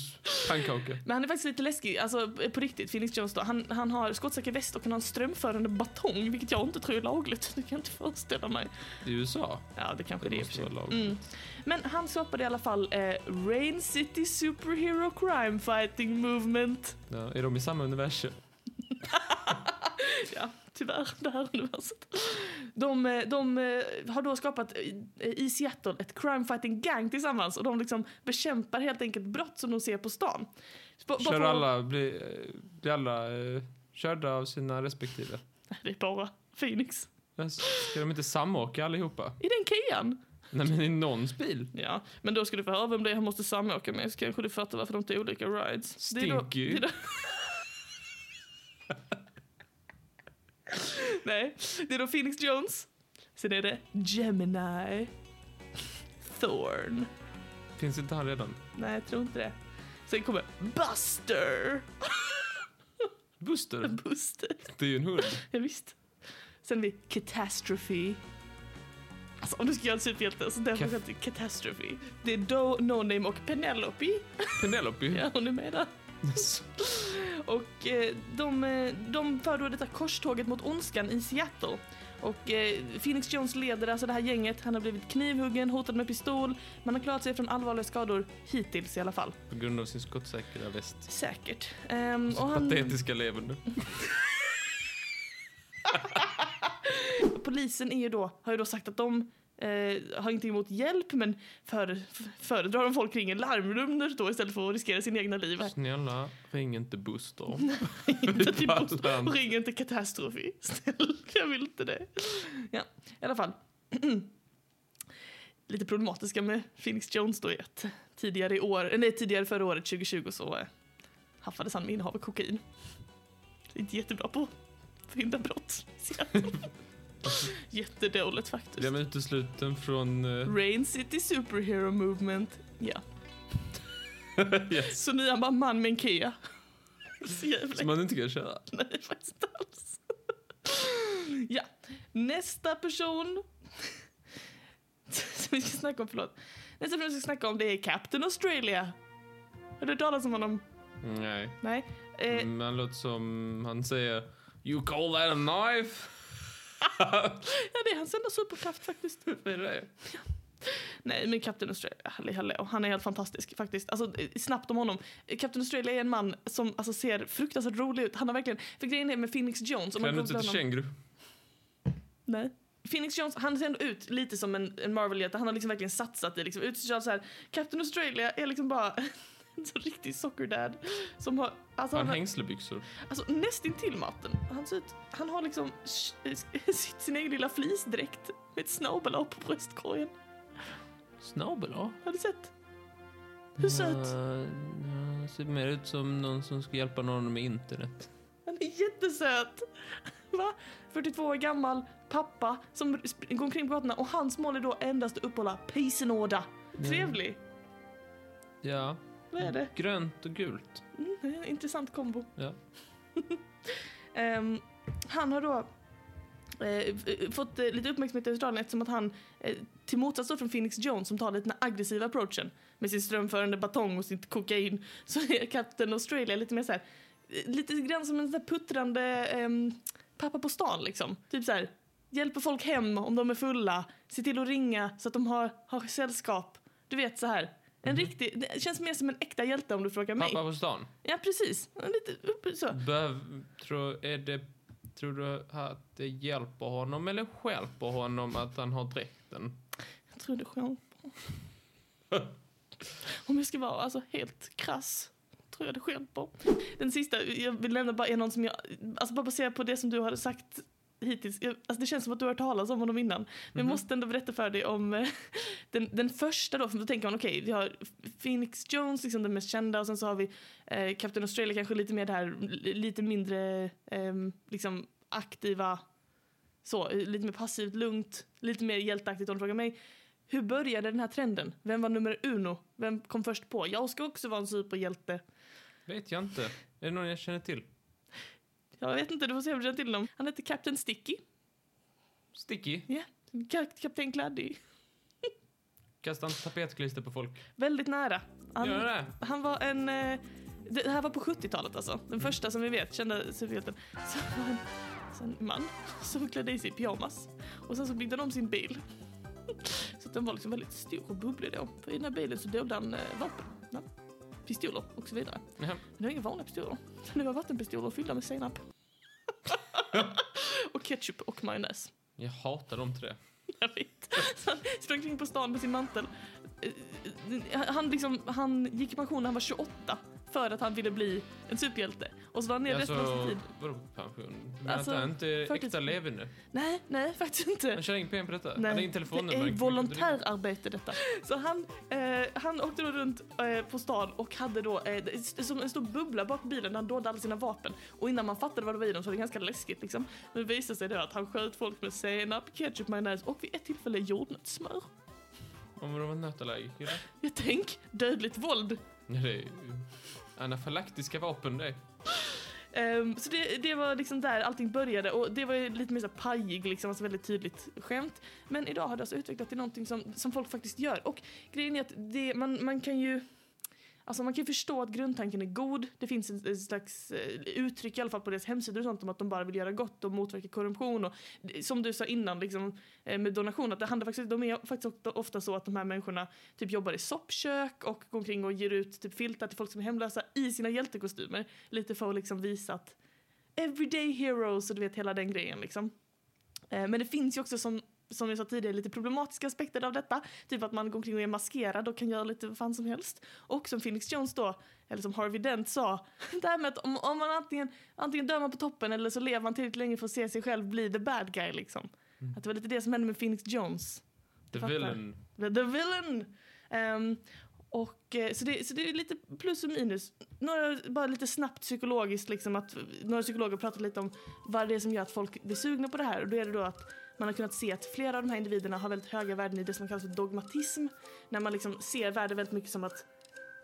[SPEAKER 3] pannkaka.
[SPEAKER 2] Men han är faktiskt lite läskig, alltså på riktigt, Phoenix Jones då. Han, han har skottsäker väst och han har en strömförande batong, vilket jag inte tror är lagligt. Det kan jag inte föreställa mig.
[SPEAKER 3] I USA.
[SPEAKER 2] Ja, det kanske
[SPEAKER 3] Det
[SPEAKER 2] det, är i och för
[SPEAKER 3] måste
[SPEAKER 2] sig.
[SPEAKER 3] vara lagligt.
[SPEAKER 2] Mm. Men han skapade i alla fall eh, Rain City Superhero Crime Fighting Movement.
[SPEAKER 3] Ja, är de i samma universum?
[SPEAKER 2] Ja, tyvärr, det här universet. De, eh, de eh, har då skapat i, i Seattle ett crime fighting gang tillsammans och de liksom bekämpar helt enkelt brott som de ser på stan. Bara- bara
[SPEAKER 3] Kör
[SPEAKER 2] för-
[SPEAKER 3] alla, blir, eh, blir alla eh, körda av sina respektive?
[SPEAKER 2] Nej, det är bara Phoenix.
[SPEAKER 3] Men Ska de inte samåka allihopa?
[SPEAKER 2] I den Kian.
[SPEAKER 3] Nej, men i någons bil?
[SPEAKER 2] Ja, men då ska du få höra vem det är han måste samåka med så kanske du fattar varför de tar olika rides.
[SPEAKER 3] Stinker ju.
[SPEAKER 2] Det är då, Nej, det är då Phoenix Jones. Sen är det Gemini. Thorn.
[SPEAKER 3] Finns inte han redan?
[SPEAKER 2] Nej, jag tror inte det. Sen kommer Buster.
[SPEAKER 3] Buster?
[SPEAKER 2] Buster,
[SPEAKER 3] Det är ju en hund.
[SPEAKER 2] ja, visst. Sen har vi Catastrophe. Alltså om du ska göra en superhjälte så därför
[SPEAKER 3] Kaf-
[SPEAKER 2] heter det Catastrophe. Det är Do, No Name och Penelope.
[SPEAKER 3] Penelope.
[SPEAKER 2] Ja, hon är med där. Och eh, de, eh, de för då detta korståget mot ondskan i Seattle. Och eh, Phoenix Jones leder alltså det här gänget. Han har blivit knivhuggen, hotad med pistol. Man har klarat sig från allvarliga skador hittills i alla fall.
[SPEAKER 3] På grund av sin skottsäkra väst.
[SPEAKER 2] Säkert. Ehm,
[SPEAKER 3] Sitt
[SPEAKER 2] Mm, och han,
[SPEAKER 3] patetiska leverne.
[SPEAKER 2] polisen är ju då, har ju då sagt att de eh, har inte emot hjälp men före- f- föredrar om folk ringer larmnummer då istället för att riskera sin egna liv.
[SPEAKER 3] Snälla, ring inte Buster.
[SPEAKER 2] inte till
[SPEAKER 3] Pallar
[SPEAKER 2] Boston.
[SPEAKER 3] inte.
[SPEAKER 2] Ring inte Katastrofi. Snälla, jag vill inte det. Ja, i alla fall. Lite problematiska med Phoenix Jones då är att tidigare i år, nej tidigare förra året 2020 så eh, haffades han med innehav av kokain. Det är inte jättebra på att förhindra brott. Så jag- Jättedåligt faktiskt.
[SPEAKER 3] Blev utesluten från... eh,
[SPEAKER 2] Rain City Superhero Movement. Ja.
[SPEAKER 3] yes.
[SPEAKER 2] Så nu är han bara en man med en Kia. Så jävla
[SPEAKER 3] Som man inte kan köra.
[SPEAKER 2] Nej, faktiskt inte alls. Ja, nästa person som vi ska snacka om, förlåt. Nästa person vi ska snacka om det är Captain Australia. Har du hört talas om honom?
[SPEAKER 3] Nej.
[SPEAKER 2] Nej. Eh,
[SPEAKER 3] Men han låter som... Han säger... You call that a knife?
[SPEAKER 2] ja, det är hans enda superkraft faktiskt.
[SPEAKER 3] Vad är det?
[SPEAKER 2] Nej, men Captain Australia, hallå, hallå. han är helt fantastisk faktiskt. Alltså, eh, snabbt om honom. Eh, Captain Australia är en man som alltså, ser fruktansvärt rolig ut. Han har verkligen, för grejen är med Phoenix Jones. om man
[SPEAKER 3] Klär ut
[SPEAKER 2] googlar
[SPEAKER 3] sig till
[SPEAKER 2] honom-
[SPEAKER 3] känguru.
[SPEAKER 2] Nej. Phoenix Jones, han ser ändå ut lite som en, en Marvel-hjälte. Han har liksom verkligen satsat i liksom, utstrålat så här. Captain Australia är liksom bara en sån riktig soccer dad. Som har, alltså,
[SPEAKER 3] Har
[SPEAKER 2] han
[SPEAKER 3] han
[SPEAKER 2] har
[SPEAKER 3] hängslebyxor?
[SPEAKER 2] alltså, nästintill maten. Han, ser ut, han har liksom sh- eh, sitt, sin egen lilla fleecedräkt med ett snabel på bröstkorgen.
[SPEAKER 3] Snabel, ja.
[SPEAKER 2] Har du sett? Hur söt?
[SPEAKER 3] Eh, Mm. Ja, ja, ser mer ut som någon som ska hjälpa någon med internet.
[SPEAKER 2] Han jättesöt. Va? 42 år gammal pappa som sp- går omkring på gatorna och hans mål är då endast att uppehålla peace and order.
[SPEAKER 3] Mm.
[SPEAKER 2] Trevlig.
[SPEAKER 3] Ja.
[SPEAKER 2] Vad är det?
[SPEAKER 3] Grönt och gult.
[SPEAKER 2] Mm, det är en intressant kombo.
[SPEAKER 3] Ja.
[SPEAKER 2] Ehm, han har då eh, f- fått eh, lite uppmärksamhet i Australien eftersom att han eh, till motsats då från Phoenix Jones som tar lite den aggressiva approachen med sin strömförande batong och sitt kokain så är Captain Australia lite mer så här eh, lite grann som en sån här puttrande ehm, pappa på stan liksom. Typ så här hjälper folk hem om de är fulla, se till att ringa så att de har, har sällskap. Du vet så här. En riktig, det känns mer som en äkta hjälte om du frågar mig.
[SPEAKER 3] Mhm. Pappa på stan.
[SPEAKER 2] Ja, precis. Lite upp, så.
[SPEAKER 3] Behöv, tror, är det, tror du att det hjälper honom eller stjälper honom att han har dräkten?
[SPEAKER 2] Jag tror det själv på. Om jag ska vara alltså, helt krass tror jag det själv på. Den sista, jag vill nämna bara är någon som jag, alltså bara baserat på det som du hade sagt hittills. Jag, alltså det känns som att du har hört talas om honom innan. Men jag
[SPEAKER 3] Mhm.
[SPEAKER 2] måste ändå berätta för dig om eh, den, den första då, för då tänker man okej, vi har Phoenix Jones, liksom den mest kända och sen så har vi eh, Captain Australia, kanske lite mer det här, l- lite mindre ehm, liksom aktiva, så, eh, lite mer passivt, lugnt, lite mer hjälteaktigt om du frågar mig. Hur började den här trenden? Vem var nummer uno? Vem kom först på? Jag ska också vara en superhjälte.
[SPEAKER 3] Vet jag inte. Är det någon jag känner till?
[SPEAKER 2] Jag vet inte, du får se om du känner till dem. Han heter Captain Sticky.
[SPEAKER 3] Sticky.
[SPEAKER 2] Kap- Kapten Kladdy.
[SPEAKER 3] Kasta inte tapetklister på folk.
[SPEAKER 2] Väldigt nära. Han,
[SPEAKER 3] Gör det?
[SPEAKER 2] han var en... eh, Det här var på 70-talet alltså. Den första som vi vet, kända superhjälten. Så var han så en man som klädde i sig i pyjamas. Och sen så byggde han om sin bil. Så att den var liksom väldigt stor och bubblig då. För i den här bilen så dolde han eh, vapen. Ja. Pistoler och så vidare.
[SPEAKER 3] Jaha.
[SPEAKER 2] Men det var inga vanliga pistoler. Det var vattenpistoler fyllda med senap. och ketchup och majonnäs.
[SPEAKER 3] Jag hatar de tre.
[SPEAKER 2] Jag vet. Så han sprang kring på stan med sin mantel. Eh, eh, Han, liksom, han gick i pension när han var 28 för att han ville bli en superhjälte. Och så var han nere resten av sin tid.
[SPEAKER 3] Alltså, vadå på pension? Men
[SPEAKER 2] Alltså,
[SPEAKER 3] att han inte är
[SPEAKER 2] förtids-
[SPEAKER 3] äkta levande.
[SPEAKER 2] Nej, nej faktiskt
[SPEAKER 3] Han
[SPEAKER 2] inte.
[SPEAKER 3] tjänar inga pengar på detta.
[SPEAKER 2] Nej,
[SPEAKER 3] Han har ingen telefonnummer.
[SPEAKER 2] det är
[SPEAKER 3] han kan inte ringa.
[SPEAKER 2] volontärarbete detta. Så han, eh, han åkte då runt eh, på stan och hade då eh, det- som en stor bubbla bak bilen där han dolde alla sina vapen. Och innan man fattade vad det var i dem så var det ganska läskigt liksom. Men det visade sig då att han sköt folk med senap, ketchup, majonnäs och vid ett tillfälle jordnötssmör.
[SPEAKER 3] Om de var nötallergiker? eller?
[SPEAKER 2] Jag tänk, dödligt våld.
[SPEAKER 3] Nej, det är ju anafylaktiska vapen det.
[SPEAKER 2] Ehm, så det, det var liksom där allting började och det var ju lite mer så här pajig, liksom, alltså väldigt tydligt skämt. Men idag har det alltså utvecklat till någonting som, som folk faktiskt gör. Och grejen är att det, man, man kan ju Alltså man kan ju förstå att grundtanken är god. Det finns en, en slags eh, uttryck i alla fall på deras hemsidor och sånt om att de bara vill göra gott och motverka korruption. Och, eh, som du sa innan liksom, eh, med donation, att det handlar faktiskt, de är faktiskt ofta, ofta så att de här människorna typ jobbar i soppkök och går omkring och ger ut typ filtar till folk som är hemlösa i sina hjältekostymer. Lite för att liksom visa att everyday heroes och du vet hela den grejen liksom. Eh, Men det finns ju också som som jag sa tidigare, lite problematiska aspekter av detta. Typ att man går omkring och är maskerad och kan göra lite vad fan som helst. Och som Phoenix Jones då, eller som Harvey Dent sa, det här med att om, om man antingen, antingen dör man på toppen eller så lever man tillräckligt länge för att se sig själv bli the bad guy liksom.
[SPEAKER 3] Mm.
[SPEAKER 2] Att det var lite det som hände med Phoenix Jones.
[SPEAKER 3] The
[SPEAKER 2] Fattar.
[SPEAKER 3] villain.
[SPEAKER 2] The, the villain! Ehm, och, eh, så, det, så det är lite plus och minus. Några, bara lite snabbt psykologiskt, liksom att, några psykologer pratar lite om vad det är som gör att folk blir sugna på det här. Och då är det då att man har kunnat se att flera av de här individerna har väldigt höga värden i det som kallas för dogmatism. När man liksom ser värde väldigt mycket som att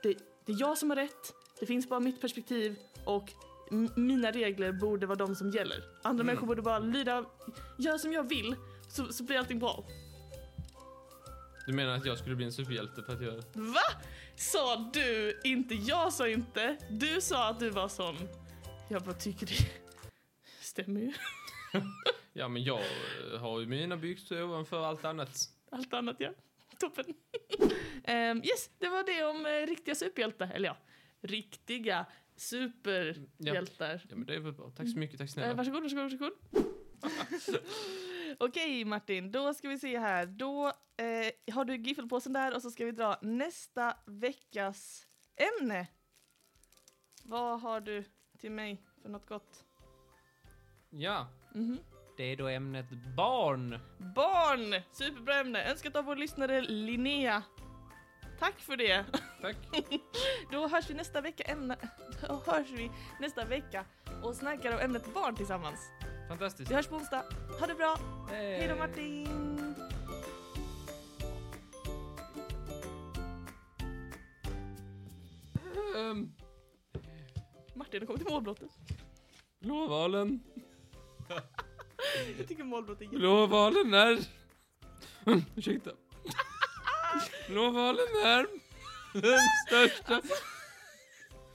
[SPEAKER 2] det, det är jag som har rätt, det finns bara mitt perspektiv och m- mina regler borde vara de som gäller. Andra människor borde bara lyda, gör som jag vill så, så blir allting bra.
[SPEAKER 3] Du menar att jag skulle bli en superhjälte för att jag...
[SPEAKER 2] Va? Sa du inte? Jag sa inte. Du sa att du var sån. Jag bara tycker det stämmer ju.
[SPEAKER 3] Ja, men jag eh, har ju mina byxor ovanför allt annat.
[SPEAKER 2] Allt annat ja. Toppen. Ehm, yes, det var det om eh, riktiga superhjältar. Eller ja, riktiga superhjältar.
[SPEAKER 3] Ja, men det är väl bra. Tack så mycket, tack
[SPEAKER 2] Eh,
[SPEAKER 3] snälla.
[SPEAKER 2] varsågod, varsågod, varsågod. Okej Martin, då ska vi se här. Då eh, har du giffelpåsen där och så ska vi dra nästa veckas ämne. Vad har du till mig för något gott?
[SPEAKER 3] Ja,
[SPEAKER 2] Mhm.
[SPEAKER 3] det är då ämnet barn.
[SPEAKER 2] Barn! Superbra ämne, önskat av vår lyssnare Linnea. Tack för det.
[SPEAKER 3] Tack.
[SPEAKER 2] Då hörs vi nästa vecka, ämne, då hörs vi nästa vecka och snackar om ämnet barn tillsammans.
[SPEAKER 3] Fantastiskt.
[SPEAKER 2] Vi hörs på onsdag. Ha det bra. Hej då Martin.
[SPEAKER 3] Ehm,
[SPEAKER 2] Martin har kommit till målbrottet.
[SPEAKER 3] blåvalen.
[SPEAKER 2] Jag tycker målbrott är jätte...
[SPEAKER 3] Blåvalen är... Ursäkta. Blåvalen är den största...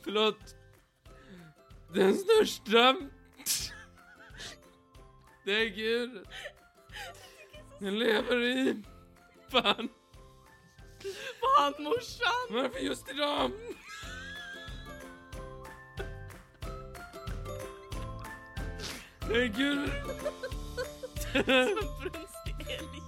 [SPEAKER 3] Förlåt. Den största däggdjuret. Den lever i... Fan.
[SPEAKER 2] Fan morsan!
[SPEAKER 3] Varför just idag? Herregud.
[SPEAKER 2] Brunstig älg.